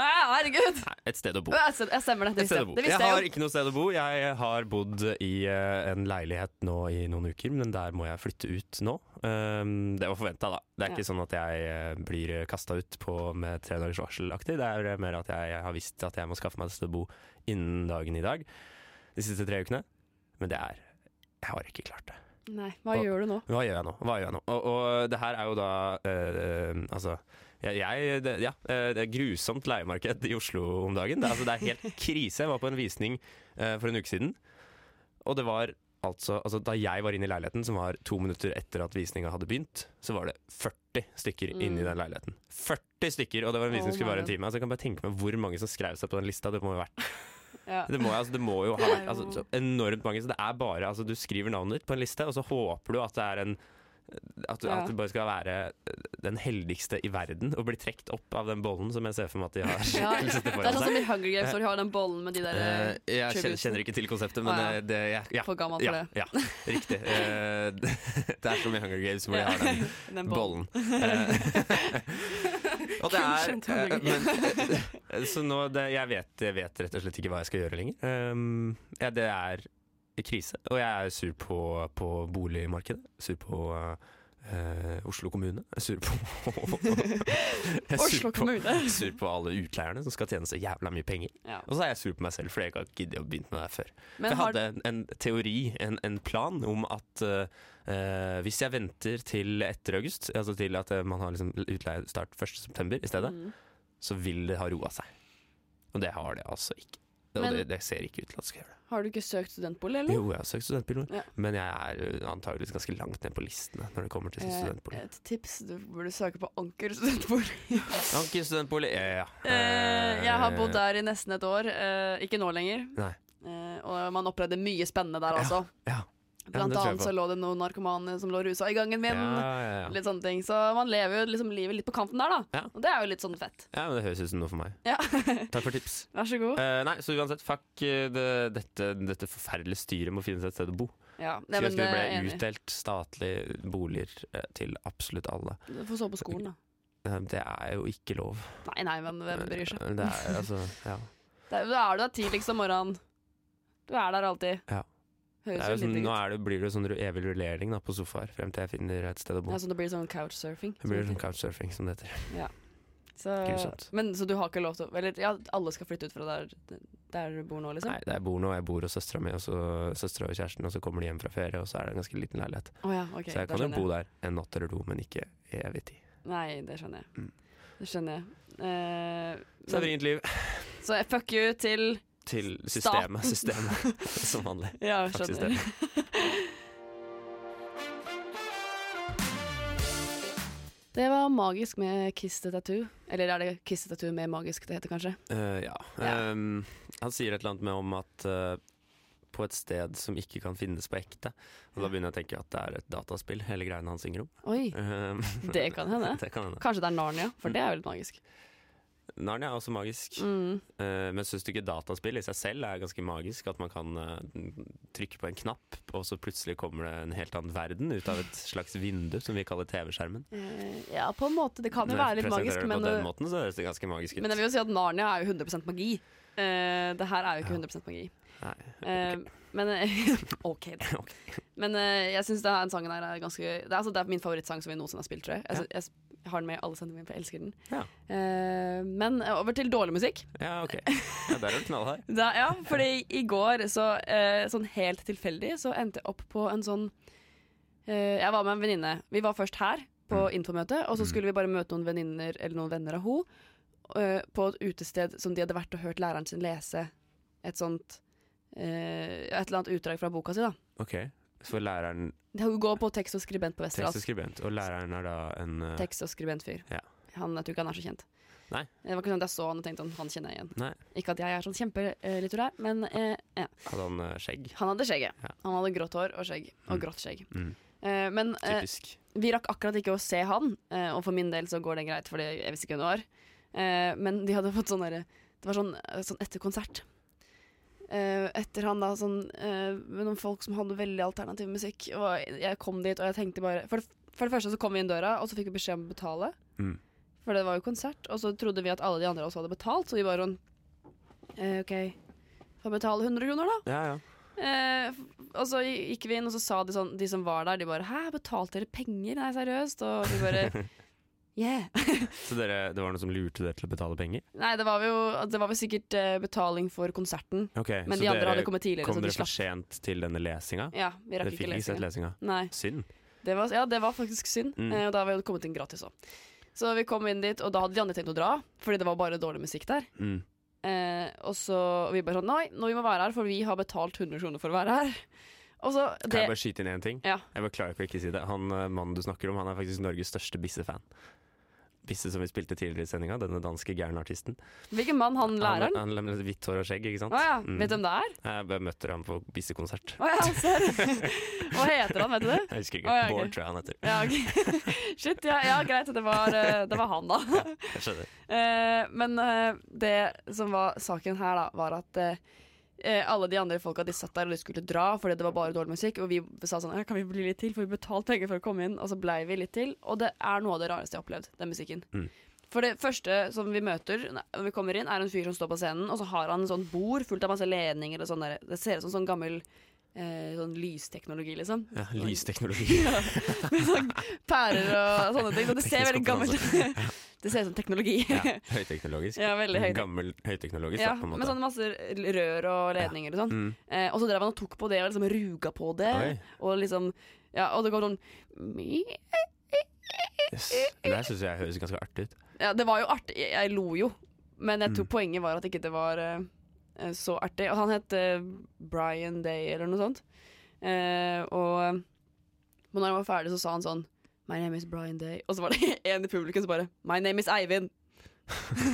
Speaker 3: Ah, herregud!
Speaker 4: Et sted å bo.
Speaker 3: Jeg stem- jeg stemmer det. Det
Speaker 4: Et
Speaker 3: visste
Speaker 4: sted å
Speaker 3: jeg,
Speaker 4: bo.
Speaker 3: det
Speaker 4: Jeg
Speaker 3: visste
Speaker 4: har
Speaker 3: jeg jo.
Speaker 4: ikke noe sted å bo. Jeg har bodd i eh, en leilighet nå i noen uker, men der må jeg flytte ut nå. Um, det var forventa, da. Det er ikke sånn at jeg eh, blir kasta ut på med tre dagers varsel-aktig. Det er eh, mer at jeg, jeg har visst at jeg må skaffe meg et sted å bo innen dagen i dag. De siste tre ukene. Men det er Jeg har ikke klart det.
Speaker 3: Nei, hva gjør du nå?
Speaker 4: Hva gjør jeg nå? Hva gjør jeg nå? Og, og det her er jo da eh, Altså jeg, jeg, det, ja, eh, det er grusomt leiemarked i Oslo om dagen. Det, er- altså, det er helt krise. Jeg var på en visning eh, for en uke siden, og det var altså, altså Da jeg var inne i leiligheten, som var to minutter etter at visninga hadde begynt, så var det 40 stykker
Speaker 8: Mm.
Speaker 4: inne i den leiligheten. 40 stykker! Og det var en visning
Speaker 8: Oh
Speaker 4: som skulle
Speaker 8: my
Speaker 4: vare en
Speaker 8: God.
Speaker 4: time. Altså, jeg kan bare tenke meg hvor mange som skrev seg på den lista. Det må jo ha vært
Speaker 3: Ja.
Speaker 4: det må, altså, det må jo ha
Speaker 3: Det
Speaker 4: vært
Speaker 3: er jo-
Speaker 4: altså, så enormt mange. Så det er bare, altså, du skriver navnet ditt på en liste, og så håper du at det er en at,
Speaker 3: Ja.
Speaker 4: at du bare skal være eh, den heldigste i verden og bli trukket opp av den bollen som jeg ser for meg at de har.
Speaker 3: *laughs*
Speaker 4: *laughs*
Speaker 3: Ja. Det
Speaker 4: sittet
Speaker 3: er
Speaker 4: foran
Speaker 3: sånn som i
Speaker 4: seg.
Speaker 3: Hunger Games når de har den bollen med de der
Speaker 4: Eh, jeg kjenner,
Speaker 3: tributes.
Speaker 4: kjenner ikke til konseptet, men
Speaker 3: Ah, ja.
Speaker 4: eh, det, ja, ja.
Speaker 3: For gammel for
Speaker 4: ja,
Speaker 3: det.
Speaker 4: Ja, riktig. Eh, *laughs* det er som i Hunger Games hvor de
Speaker 3: Ja,
Speaker 4: har
Speaker 3: *laughs*
Speaker 4: den,
Speaker 3: den bollen.
Speaker 4: bollen.
Speaker 3: *laughs*
Speaker 4: Eh, *laughs* og det er
Speaker 3: Kun skjønt Hunger
Speaker 4: eh,
Speaker 3: Games.
Speaker 4: men, eh, Så nå, det, jeg, vet, jeg vet rett og slett ikke hva jeg skal gjøre lenger. Um, ja, det er krise, og jeg er sur på, på boligmarkedet. Sur på eh, Oslo kommune. Jeg er sur på Jeg er
Speaker 3: Oslo
Speaker 4: sur på-
Speaker 3: kommune.
Speaker 4: Sur på alle utleierne som skal tjene så jævla mye penger.
Speaker 3: Ja.
Speaker 4: Og så er jeg sur på meg selv, fordi jeg ikke har giddet å begynne med det her før.
Speaker 3: *laughs*
Speaker 4: For
Speaker 3: Men
Speaker 4: jeg
Speaker 3: har-
Speaker 4: hadde en, en teori, en, en plan, om at eh, eh, hvis jeg venter til etter august, altså til at eh, man har liksom utleiestart 1.9. i stedet,
Speaker 3: Mm.
Speaker 4: så vil det ha roa seg. Og det har det altså ikke. Og
Speaker 3: Men-
Speaker 4: det, det ser ikke ut til at det skal gjøre det.
Speaker 3: Har du ikke søkt studentbolig, eller?
Speaker 4: Jo, jeg har søkt studentbolig,
Speaker 3: Ja.
Speaker 4: men jeg er eh, antageligvis ganske langt ned på listene når det kommer til
Speaker 3: Eh,
Speaker 4: studentbolig.
Speaker 3: Et tips, du burde søke på Anker studentbolig.
Speaker 4: Anker studentbolig, ja, ja.
Speaker 3: Eh, jeg har bodd der i nesten et år, eh, ikke nå lenger.
Speaker 4: Nei.
Speaker 3: Eh, og man opplevde mye spennende der, altså.
Speaker 4: Ja, men
Speaker 3: Blant
Speaker 4: det tror jeg
Speaker 3: annet
Speaker 4: på.
Speaker 3: så lå det noen narkomane som lå rusa i gangen min.
Speaker 4: Eh, Ja, ja, ja.
Speaker 3: Litt sånne ting. Så man lever jo liksom livet litt på kanten der, da. Og det er jo litt sånn fett.
Speaker 4: Ja, men Det høres ut som noe for meg.
Speaker 3: Ja.
Speaker 4: Takk for tips.
Speaker 3: Vær så god.
Speaker 4: Eh, nei, så uansett, fuck eh, det, dette, dette forferdelige styret med å finne seg et sted å bo.
Speaker 3: Ja,
Speaker 4: Så
Speaker 3: nei,
Speaker 4: jeg
Speaker 3: men,
Speaker 4: skulle
Speaker 3: eh,
Speaker 4: bli
Speaker 3: enig.
Speaker 4: utdelt statlige boliger eh, til absolutt alle.
Speaker 3: Du får sove på skolen, da.
Speaker 4: *laughs* Eh, Det er jo ikke lov.
Speaker 3: Nei, nei, men hvem bryr seg?
Speaker 4: Eh, Det er, altså,
Speaker 3: *laughs*
Speaker 4: ja.
Speaker 3: Da da er du der tidligst om morgenen. Du er der alltid.
Speaker 4: ja. Det
Speaker 3: Høres
Speaker 4: er
Speaker 3: jo
Speaker 4: jo sånn,
Speaker 3: litt
Speaker 4: nå
Speaker 3: ut.
Speaker 4: er det, blir det jo sånn ru- evig rullering da, på sofaer frem til jeg finner et sted å bo.
Speaker 3: Ja, så det blir sånn couchsurfing.
Speaker 4: Det blir sånn couchsurfing som det heter.
Speaker 3: Ja. Så,
Speaker 4: Grusomt.
Speaker 3: men så du har ikke lov til å Eller ja, alle skal flytte ut fra der, der du bor nå, liksom?
Speaker 4: Nei, Jeg bor nå, jeg bor hos søstera mi og så søstera og kjæresten, og så kommer de hjem fra ferie, og så er det en ganske liten leilighet.
Speaker 3: Å ja, ok,
Speaker 4: så jeg
Speaker 3: da
Speaker 4: kan jo
Speaker 3: skjønner
Speaker 4: bo
Speaker 3: jeg.
Speaker 4: der en natt eller to, men ikke evig tid.
Speaker 3: Nei, det skjønner jeg.
Speaker 4: Mm.
Speaker 3: Det skjønner jeg. Eh,
Speaker 4: Så det er
Speaker 3: men-
Speaker 4: vrient liv.
Speaker 3: så jeg fuck you til
Speaker 4: Til
Speaker 3: Staten.
Speaker 4: systemet. Systemet, *laughs* som vanlig.
Speaker 3: Ja,
Speaker 4: Fuck
Speaker 3: skjønner.
Speaker 4: systemet.
Speaker 3: Det var magisk med Kiss the Tattoo. Eller er det Kiss the Tattoo med magisk det heter, kanskje?
Speaker 4: *laughs* Eh, ja. Um, han sier et eller annet med om at eh, på et sted som ikke kan finnes på ekte. Og da begynner jeg å tenke at det er et dataspill, hele greiene
Speaker 3: *laughs*
Speaker 4: han synger om.
Speaker 3: Oi,
Speaker 4: Um,
Speaker 3: *laughs* det kan hende.
Speaker 4: *laughs* det kan hende.
Speaker 3: Kanskje det er Narnia, for det er jo litt magisk.
Speaker 4: Narnia er også magisk.
Speaker 3: Mm.
Speaker 4: Eh, men syns du ikke dataspill i seg selv er ganske magisk? At man kan eh, trykke på en knapp, og så plutselig kommer det en helt annen verden ut
Speaker 3: *laughs*
Speaker 4: av et slags vindu som vi kaller TV-skjermen?
Speaker 3: Eh, ja, på en måte. Det kan jo
Speaker 4: Når
Speaker 3: være
Speaker 4: jeg
Speaker 3: litt magisk,
Speaker 4: presenterer det
Speaker 3: men,
Speaker 4: På den måten så høres det ganske magisk ut.
Speaker 3: men jeg vil jo si at Narnia er jo 100 magi. Eh, det her er jo ikke 100 magi.
Speaker 4: Nei.
Speaker 3: Eh, *laughs* Men OK, da. Men eh, jeg syns den sangen her er ganske det er, altså, det er min favorittsang som vi noensinne har spilt, tror jeg. Jeg, jeg s- har den med i alle sangene mine, for jeg elsker den. Eh, men eh, over til dårlig musikk.
Speaker 4: Ja, ok. Ja, der er
Speaker 3: *laughs*
Speaker 4: du knallhard.
Speaker 3: Da, ja, fordi i går, så, eh, sånn helt tilfeldig, så endte jeg opp på en sånn eh, Jeg var med en venninne. Vi var først her på
Speaker 4: Mm.
Speaker 3: infomøte, og så skulle vi bare møte noen venninner eller noen venner av henne eh, på et utested som de hadde vært og hørt læreren sin lese et sånt eh, Et eller annet utdrag fra boka si, da.
Speaker 4: Ok, så læreren
Speaker 3: Det går på tekst og skribent på
Speaker 4: Tekst og
Speaker 3: Westerdals.
Speaker 4: skribent, og læreren er da en eh,
Speaker 3: Tekst og skribentfyr.
Speaker 4: Ja.
Speaker 3: Han, jeg tror ikke han er så kjent.
Speaker 4: Nei.
Speaker 3: Det var ikke sånn at jeg så han og tenkte han, han kjenner jeg igjen.
Speaker 4: Nei.
Speaker 3: Ikke at jeg er sånn kjempelitterær, men eh, ja.
Speaker 4: Hadde han eh, skjegg?
Speaker 3: Han hadde skjegget. Han hadde grått hår og skjegg. Og
Speaker 4: Mm.
Speaker 3: grått skjegg.
Speaker 4: Mm.
Speaker 3: Eh, men eh,
Speaker 4: Typisk.
Speaker 3: vi rakk akkurat ikke å se han, eh, og for min del så går det greit, Fordi jeg visste ikke hvem det var. Eh, men de hadde *laughs* fått sånn derre Det var sånn, eh, sånn etter konsert. Eh, etter han, da, sånn eh, med noen folk som hadde veldig alternativ musikk.
Speaker 4: Mm.
Speaker 3: Og jeg kom dit, og jeg tenkte bare For det, for det første så kom vi inn døra, og så fikk vi beskjed om å betale. For det var jo konsert, og så trodde vi at alle de andre også hadde betalt, så vi bare sånn eh, OK, får betale 100 kroner, da.
Speaker 4: Ja, ja.
Speaker 3: Eh, f- og så gikk vi inn, og så sa de, sånn, de som var der, de bare 'hæ, betalte dere penger?' Nei, seriøst? Og vi bare
Speaker 4: *laughs*
Speaker 3: yeah.
Speaker 4: Så dere, det var noen som lurte dere til å betale penger?
Speaker 3: Nei, det var jo det var vel sikkert eh, betaling for konserten.
Speaker 4: Ok,
Speaker 3: Men
Speaker 4: så
Speaker 3: de andre
Speaker 4: dere
Speaker 3: hadde kommet tidligere,
Speaker 4: Kom
Speaker 3: så de
Speaker 4: dere for
Speaker 3: slapp.
Speaker 4: sent til denne lesinga?
Speaker 3: Ja, vi rakk
Speaker 4: Dere fikk
Speaker 3: ikke
Speaker 4: ikke sett lesinga?
Speaker 3: Nei.
Speaker 4: Synd.
Speaker 3: Det var, ja, det var faktisk synd.
Speaker 4: Mm.
Speaker 3: Eh, og da hadde vi jo kommet inn gratis òg. Så vi kom inn dit, og da hadde de andre tenkt å dra, fordi det var bare dårlig musikk der.
Speaker 4: Mm.
Speaker 3: Eh, og så og vi bare sånn Nei, nå vi må være her, for vi har betalt 100 kroner for å være her. Og så
Speaker 4: Kan
Speaker 3: det
Speaker 4: jeg bare skyte inn én ting?
Speaker 3: Ja.
Speaker 4: Jeg bare klarer ikke å ikke si det. Han eh, mannen du snakker om, han er faktisk Norges største Bisse-fan. Bisse som vi spilte tidligere i sendinga, denne danske gærne artisten.
Speaker 3: Hvilken mann? Han læreren?
Speaker 4: Han, han med hvitt hår og skjegg, ikke sant?
Speaker 3: Å ja.
Speaker 4: Mm.
Speaker 3: Vet du hvem det er?
Speaker 4: Jeg bare møtte ham på Bisse-konsert.
Speaker 3: Å ja, ser *laughs* Hva heter han, vet du det?
Speaker 4: Jeg husker ikke.
Speaker 3: Å, ja, ok.
Speaker 4: Bård, tror jeg han heter.
Speaker 3: Ja, ok. *laughs* Shit, ja, ja greit. Det var, eh, det var han, da.
Speaker 4: Jeg skjønner.
Speaker 3: Eh, men eh, det som var saken her, da, var at eh, eh, alle de andre folka de satt der og de skulle dra fordi det var bare dårlig musikk. Og vi sa sånn «Ja, Kan vi bli litt til? For vi betalte penger for å komme inn. Og så blei vi litt til. Og det er noe av det rareste jeg har opplevd, den musikken.
Speaker 4: Mm.
Speaker 3: For det første som vi møter når vi kommer inn, er en fyr som står på scenen, og så har han en sånn bord fullt av masse ledninger og sånn der. Det ser ut som sånn gammel eh, sånn lysteknologi, liksom.
Speaker 4: Ja, lysteknologi.
Speaker 3: Med sånn pærer og sånne ting. Så
Speaker 4: *laughs*
Speaker 3: det ser
Speaker 4: Teknisk
Speaker 3: veldig gammelt ut. *laughs* Det ser ut som teknologi.
Speaker 4: Ja,
Speaker 3: *laughs*
Speaker 4: høyteknologisk.
Speaker 3: Ja, veldig høyt.
Speaker 4: Gammel høyteknologisk,
Speaker 3: Ja,
Speaker 4: da, på en
Speaker 3: med
Speaker 4: måte.
Speaker 3: sånn masse rør og ledninger og sånn.
Speaker 4: Mm.
Speaker 3: Eh, og så drev han og tok på det og liksom ruga på det.
Speaker 4: Oi.
Speaker 3: Og liksom Ja, og det går sånn
Speaker 4: Yes. Det her syns jeg høres ganske artig
Speaker 3: *laughs*
Speaker 4: ut.
Speaker 3: Ja, det var jo artig. Jeg, jeg lo jo. Men jeg tror
Speaker 4: Mm.
Speaker 3: poenget var at ikke det var eh, eh, så artig. Og han het eh, Brian Day eller noe sånt. Eh, og eh, men når han var ferdig, så sa han sånn My name is Brian Day. Og så var det *laughs* en i publikum som bare My name is Eivind.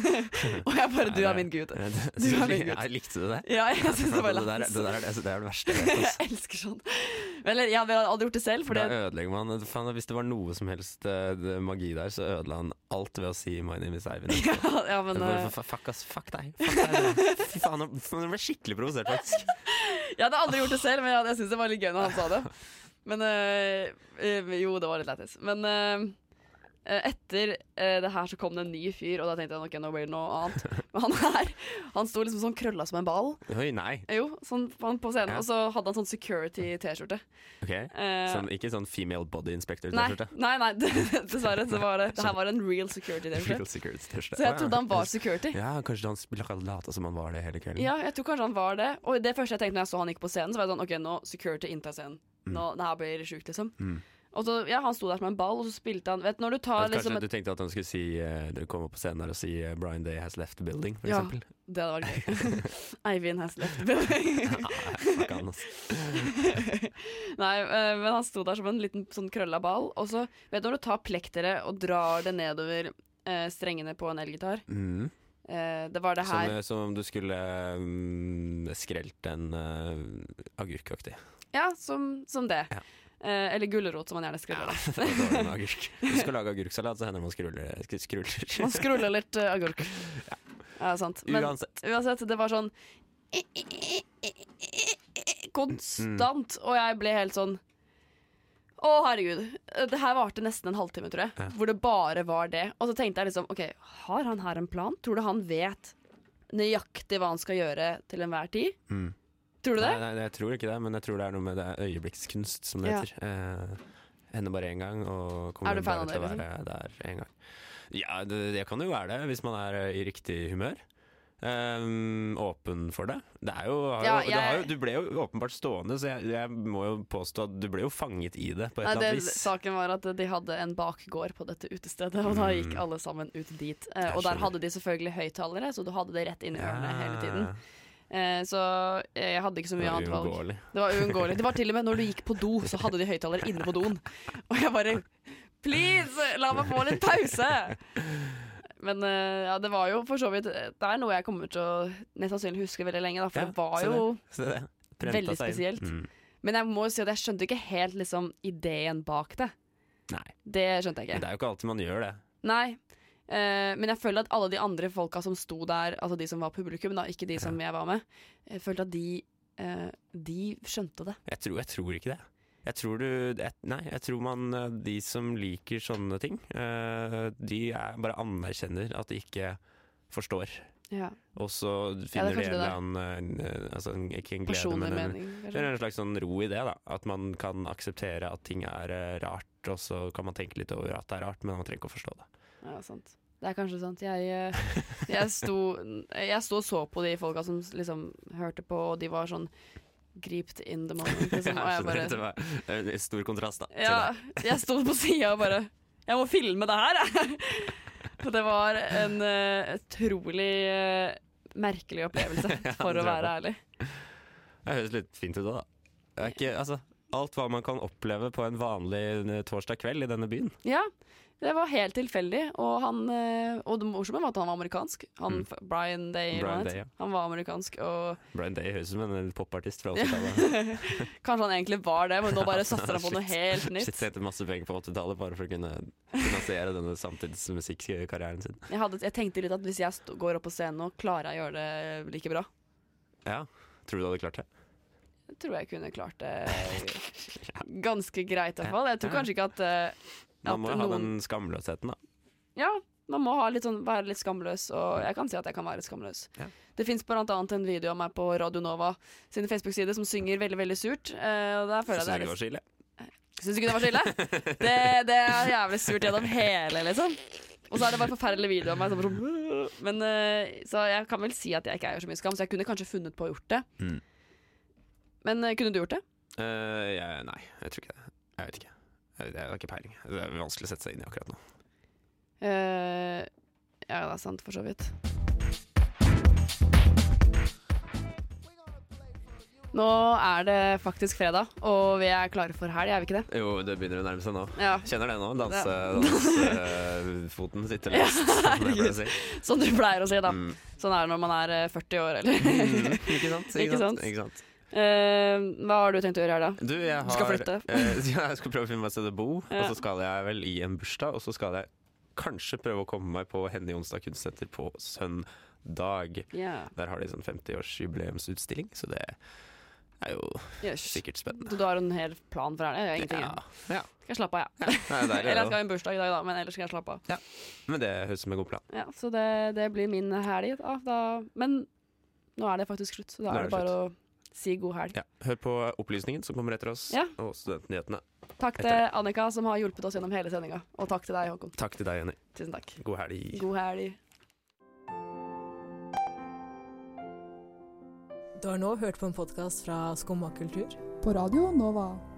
Speaker 3: *laughs* og jeg bare Du er min gud.
Speaker 4: *laughs* Ja, det-
Speaker 3: Du er min gud.
Speaker 4: Jeg likte
Speaker 3: *laughs*
Speaker 4: du det?
Speaker 3: Ja, jeg synes det var
Speaker 4: *laughs* det, der, er-
Speaker 3: lættis.
Speaker 4: det, der er, altså, det er det
Speaker 3: *laughs*
Speaker 4: verste jeg vet. ass.
Speaker 3: Jeg elsker sånn. Eller ja, vi har aldri gjort det selv, for
Speaker 4: Da
Speaker 3: det
Speaker 4: ødelegger man faen, Hvis det var noe som helst eh, det- magi der, så ødela han alt ved å si 'my name is Eivind'.
Speaker 3: *laughs* ja, *laughs* ja, men,
Speaker 4: Bare,
Speaker 3: eh,
Speaker 4: fa- fuck, ass, fuck deg. Fuck
Speaker 3: *laughs*
Speaker 4: deg Fy faen, nå- nå ble jeg skikkelig provosert, faktisk.
Speaker 3: jeg hadde aldri gjort det selv, men jeg, jeg syns det var litt gøy når han sa det. Men eh, eh, Jo, det var litt lættis. Men eh, eh, etter eh, det her så kom det en ny fyr, og da tenkte jeg ok, nå blir det noe annet. Men han her, han sto liksom sånn krølla som en ball.
Speaker 4: Oi, nei.
Speaker 3: Eh, Jo, sånn han på scenen.
Speaker 4: Ja.
Speaker 3: Og så hadde han sånn security-T-skjorte.
Speaker 4: Ok.
Speaker 3: Eh,
Speaker 4: Sånn, ikke sånn female body inspector
Speaker 3: nei,
Speaker 4: T-skjorte. Sånn
Speaker 3: nei, nei, *laughs* dessverre. Så var det, det her var en real security-T-skjorte.
Speaker 4: Real security T-skjorte.
Speaker 3: Så jeg
Speaker 4: Å, ja.
Speaker 3: trodde han var security.
Speaker 4: Ja, kanskje han spil- lata som han var det hele kvelden.
Speaker 3: Ja, jeg tror kanskje han var det. Og det første jeg tenkte når jeg så han gikk på scenen, Så var jeg sånn OK, nå security inntar scenen.
Speaker 4: Hm.
Speaker 3: Nå, det her blir sjukt, liksom.
Speaker 4: Mm.
Speaker 3: Og så, ja, Han sto der som en ball, og så spilte han Vet du, når du tar
Speaker 4: Kanskje
Speaker 3: liksom
Speaker 4: du
Speaker 3: et,
Speaker 4: tenkte at han skulle si eh, Dere kommer på scenen her og si eh, 'Brian Day has left the building', for
Speaker 3: Ja. *laughs*
Speaker 4: eksempel.
Speaker 3: Det hadde
Speaker 4: *laughs*
Speaker 3: vært gøy. Eivind has left the building.
Speaker 4: Fuck han, ass.
Speaker 3: *laughs* Nei, eh, men han sto der som en liten sånn krølla ball. Og så, vet du, når du tar plekteret og drar det nedover eh, strengene på en elgitar
Speaker 4: Mm.
Speaker 3: eh, Det var det
Speaker 4: Som,
Speaker 3: her.
Speaker 4: eh, som om du skulle mm, skrelt en uh, agurkaktig.
Speaker 3: *laughs*
Speaker 4: *laughs*
Speaker 3: Ja, som, som det.
Speaker 4: Ja.
Speaker 3: Eh, eller gulrot, som man gjerne skruller.
Speaker 4: Det var dårlig med agurk. Hvis du skal lage agurksalat, så hender det man skruller. sk- skruller.
Speaker 3: Man skruller litt eh, agurk. Ja, sant. Men
Speaker 4: Uansett.
Speaker 3: uansett, det var sånn Konstant.
Speaker 4: Mm.
Speaker 3: Og jeg ble helt sånn Å, herregud. Det her varte nesten en halvtime, tror jeg.
Speaker 4: Ja.
Speaker 3: Hvor det bare var det. Og så tenkte jeg liksom OK, har han her en plan? Tror du han vet nøyaktig hva han skal gjøre til enhver tid?
Speaker 4: Mm.
Speaker 3: Tror du det?
Speaker 4: Nei, nei, jeg tror ikke det, men jeg tror det er noe med det øyeblikkskunst, som det
Speaker 3: Ja.
Speaker 4: heter. Eh, hender bare én gang, og
Speaker 3: Er
Speaker 4: kommer
Speaker 3: du fan
Speaker 4: bare
Speaker 3: av
Speaker 4: til å
Speaker 3: det, liksom?
Speaker 4: være der én gang. Ja, det, det kan jo være det, hvis man er eh, i riktig humør. Eh, åpen for det. Det er jo, har jo,
Speaker 3: Ja,
Speaker 4: det har jo
Speaker 3: jeg-
Speaker 4: Du ble jo åpenbart stående, så jeg, jeg må jo påstå at du ble jo fanget i det på et
Speaker 3: Nei,
Speaker 4: eller
Speaker 3: det,
Speaker 4: annet vis.
Speaker 3: saken var at de hadde en bakgård på dette utestedet, og da gikk alle sammen ut dit. Eh,
Speaker 4: Mm. Jeg
Speaker 3: og der
Speaker 4: skjønner.
Speaker 3: hadde de selvfølgelig høyttalere, så du hadde det rett inn i ørene hele tiden. Eh, så jeg hadde ikke så mye
Speaker 4: Ja,
Speaker 3: annet valg.
Speaker 4: uunngåelig. *laughs*
Speaker 3: Det var uunngåelig. Det var til og med når du gikk på do, så hadde de høyttalere inne på doen. Og jeg bare Please, la meg få litt pause! Men eh, ja, det var jo for så vidt eh, Det er noe jeg kommer til å mest sannsynlig huske veldig lenge, da, for
Speaker 4: Ja,
Speaker 3: det var
Speaker 4: se
Speaker 3: jo
Speaker 4: Se det. Mm. Prenta
Speaker 3: veldig
Speaker 4: seg inn.
Speaker 3: spesielt. Men jeg må jo si at jeg skjønte ikke helt liksom, ideen bak det.
Speaker 4: Nei,
Speaker 3: Det skjønte jeg ikke.
Speaker 4: men det er jo ikke alltid man gjør det.
Speaker 3: Nei. Eh, men jeg føler at alle de andre folka som sto der, altså de som var publikum, da, ikke de som jeg var med, jeg følte at de, eh, de skjønte det.
Speaker 4: Jeg tror, jeg tror ikke det. Jeg tror du jeg, Nei, jeg tror man eh, De som liker sånne ting, eh, de er, bare anerkjenner at de ikke forstår.
Speaker 3: Ja.
Speaker 4: Og så finner de
Speaker 3: kanskje det
Speaker 4: en eller
Speaker 3: der.
Speaker 4: annen eh, altså, en- Ikke en glede,
Speaker 3: Personlig
Speaker 4: men en,
Speaker 3: mening.
Speaker 4: det er
Speaker 3: kanskje.
Speaker 4: en slags sånn ro i det. da At man kan akseptere at ting er eh, rart, og så kan man tenke litt over at det er rart, men man trenger ikke å forstå det.
Speaker 3: Ja, sant. Det er kanskje sant. Jeg, eh, jeg, sto, jeg sto og så på de folka som liksom hørte på, og de var sånn griped in the moment. Liksom, og
Speaker 4: *laughs* Jeg
Speaker 3: jeg
Speaker 4: skjønner,
Speaker 3: bare
Speaker 4: det var en stor kontrast da, til
Speaker 3: Ja,
Speaker 4: deg.
Speaker 3: jeg sto på sida og bare Jeg må filme det her, jeg! Og det var en eh, utrolig eh, merkelig opplevelse,
Speaker 4: *laughs* Ja,
Speaker 3: for å
Speaker 4: det tror jeg
Speaker 3: være
Speaker 4: på.
Speaker 3: ærlig.
Speaker 4: Det høres litt fint ut òg, da. Det er ikke, altså, alt hva man kan oppleve på en vanlig eh, torsdag kveld i denne byen.
Speaker 3: Ja, det var helt tilfeldig. Og, han, eh, og det morsomme var at han var amerikansk. Han,
Speaker 4: Mm.
Speaker 3: f- Brian Day, eller
Speaker 4: Brian
Speaker 3: hva han
Speaker 4: Day,
Speaker 3: het.
Speaker 4: ja.
Speaker 3: han var amerikansk. Og
Speaker 4: Brian Day høres ut som en eh,
Speaker 3: *laughs*
Speaker 4: popartist fra 80-tallet.
Speaker 3: kanskje han egentlig var det, men nå
Speaker 4: *laughs*
Speaker 3: bare satser han på noe
Speaker 4: Shit.
Speaker 3: helt
Speaker 4: Shit,
Speaker 3: nytt.
Speaker 4: tjente masse penger på 80-tallet bare for å kunne finansiere denne samtidsmusikkarrieren sin.
Speaker 3: Jeg, hadde, jeg tenkte litt at hvis jeg st går opp på scenen nå, klarer jeg å gjøre det like bra?
Speaker 4: Ja, Tror du du hadde klart det?
Speaker 3: Jeg tror jeg kunne klart
Speaker 4: *laughs*
Speaker 3: det ganske greit, i hvert fall. Jeg tror kanskje ikke at, eh,
Speaker 4: Man må
Speaker 3: at
Speaker 4: jo ha
Speaker 3: noen
Speaker 4: den skamløsheten, da.
Speaker 3: Ja, man må ha litt sånn, være litt skamløs, og jeg kan si at jeg kan være skamløs.
Speaker 4: Ja.
Speaker 3: Det fins bl.a. en video av meg på Radio Nova sin Facebook-side som synger veldig, veldig surt. eh, og der føler
Speaker 4: Syns
Speaker 3: jeg det er
Speaker 4: du det var
Speaker 3: litt
Speaker 4: så ille?
Speaker 3: Syns du ikke det var så ille? Det, det er jævlig surt gjennom hele, liksom. Og så er det bare forferdelig video av meg. Som bare sånn, men, eh, så jeg kan vel si at jeg ikke eier så mye skam, så jeg kunne kanskje funnet på å gjort det.
Speaker 4: Mm.
Speaker 3: Men eh, kunne du gjort det?
Speaker 4: Eh, jeg, nei, jeg tror ikke det. Jeg vet ikke. Jeg, jeg har ikke peiling. Det er vanskelig å sette seg inn i akkurat nå.
Speaker 3: Eh, ja, det er sant, for så vidt. Nå er det faktisk fredag, og vi er klare for helg, er vi ikke det?
Speaker 4: Jo, det begynner å nærme seg nå.
Speaker 3: Ja.
Speaker 4: Kjenner det nå. Danse,
Speaker 3: Ja. *laughs*
Speaker 4: dansefoten sitter løst. *laughs* som det pleier å si.
Speaker 3: Som du pleier å si, da.
Speaker 4: Mm.
Speaker 3: Sånn er det når man er eh, 40 år, eller
Speaker 4: Mm, Ikke sant?
Speaker 3: Ikke sant?
Speaker 4: Ikke sant?
Speaker 3: *laughs* Eh, Hva har du tenkt å gjøre her, da?
Speaker 4: Du, jeg har,
Speaker 3: Du skal flytte.
Speaker 4: *laughs* eh, ja, jeg skal prøve å finne meg et sted å bo, og
Speaker 3: Ja.
Speaker 4: så skal jeg vel i en bursdag. Og så skal jeg kanskje prøve å komme meg på Henny Onsdag Kunstsenter på søndag. Der har de sånn 50-årsjubileumsutstilling, så det er jo
Speaker 3: Yes.
Speaker 4: sikkert spennende.
Speaker 3: Så du har en hel plan for helga? Jeg har ingenting.
Speaker 4: Ja,
Speaker 3: jeg.
Speaker 4: ja.
Speaker 3: Skal jeg slappe av, jeg.
Speaker 4: Nei, det er
Speaker 3: *laughs* Eller jeg
Speaker 4: det,
Speaker 3: skal ha en bursdag i dag, da, men ellers skal jeg slappe av.
Speaker 4: da. Men det høres ut som en god plan.
Speaker 3: Ja, så det, det blir min helg, da. da. Men nå er det faktisk slutt, så da
Speaker 4: Nå er
Speaker 3: er det
Speaker 4: det
Speaker 3: bare å si god helg.
Speaker 4: Ja. Hør på opplysningen som kommer etter oss,
Speaker 3: Ja.
Speaker 4: og studentnyhetene.
Speaker 3: Takk
Speaker 4: Etter
Speaker 3: til Annika, som har hjulpet oss gjennom hele sendinga. Og takk til deg, Håkon.
Speaker 4: Takk til deg, Jenny.
Speaker 3: Tusen takk.
Speaker 4: God helg.
Speaker 3: God helg.
Speaker 11: Du har nå hørt på en podkast fra Skumma kultur.
Speaker 12: På radio Nova.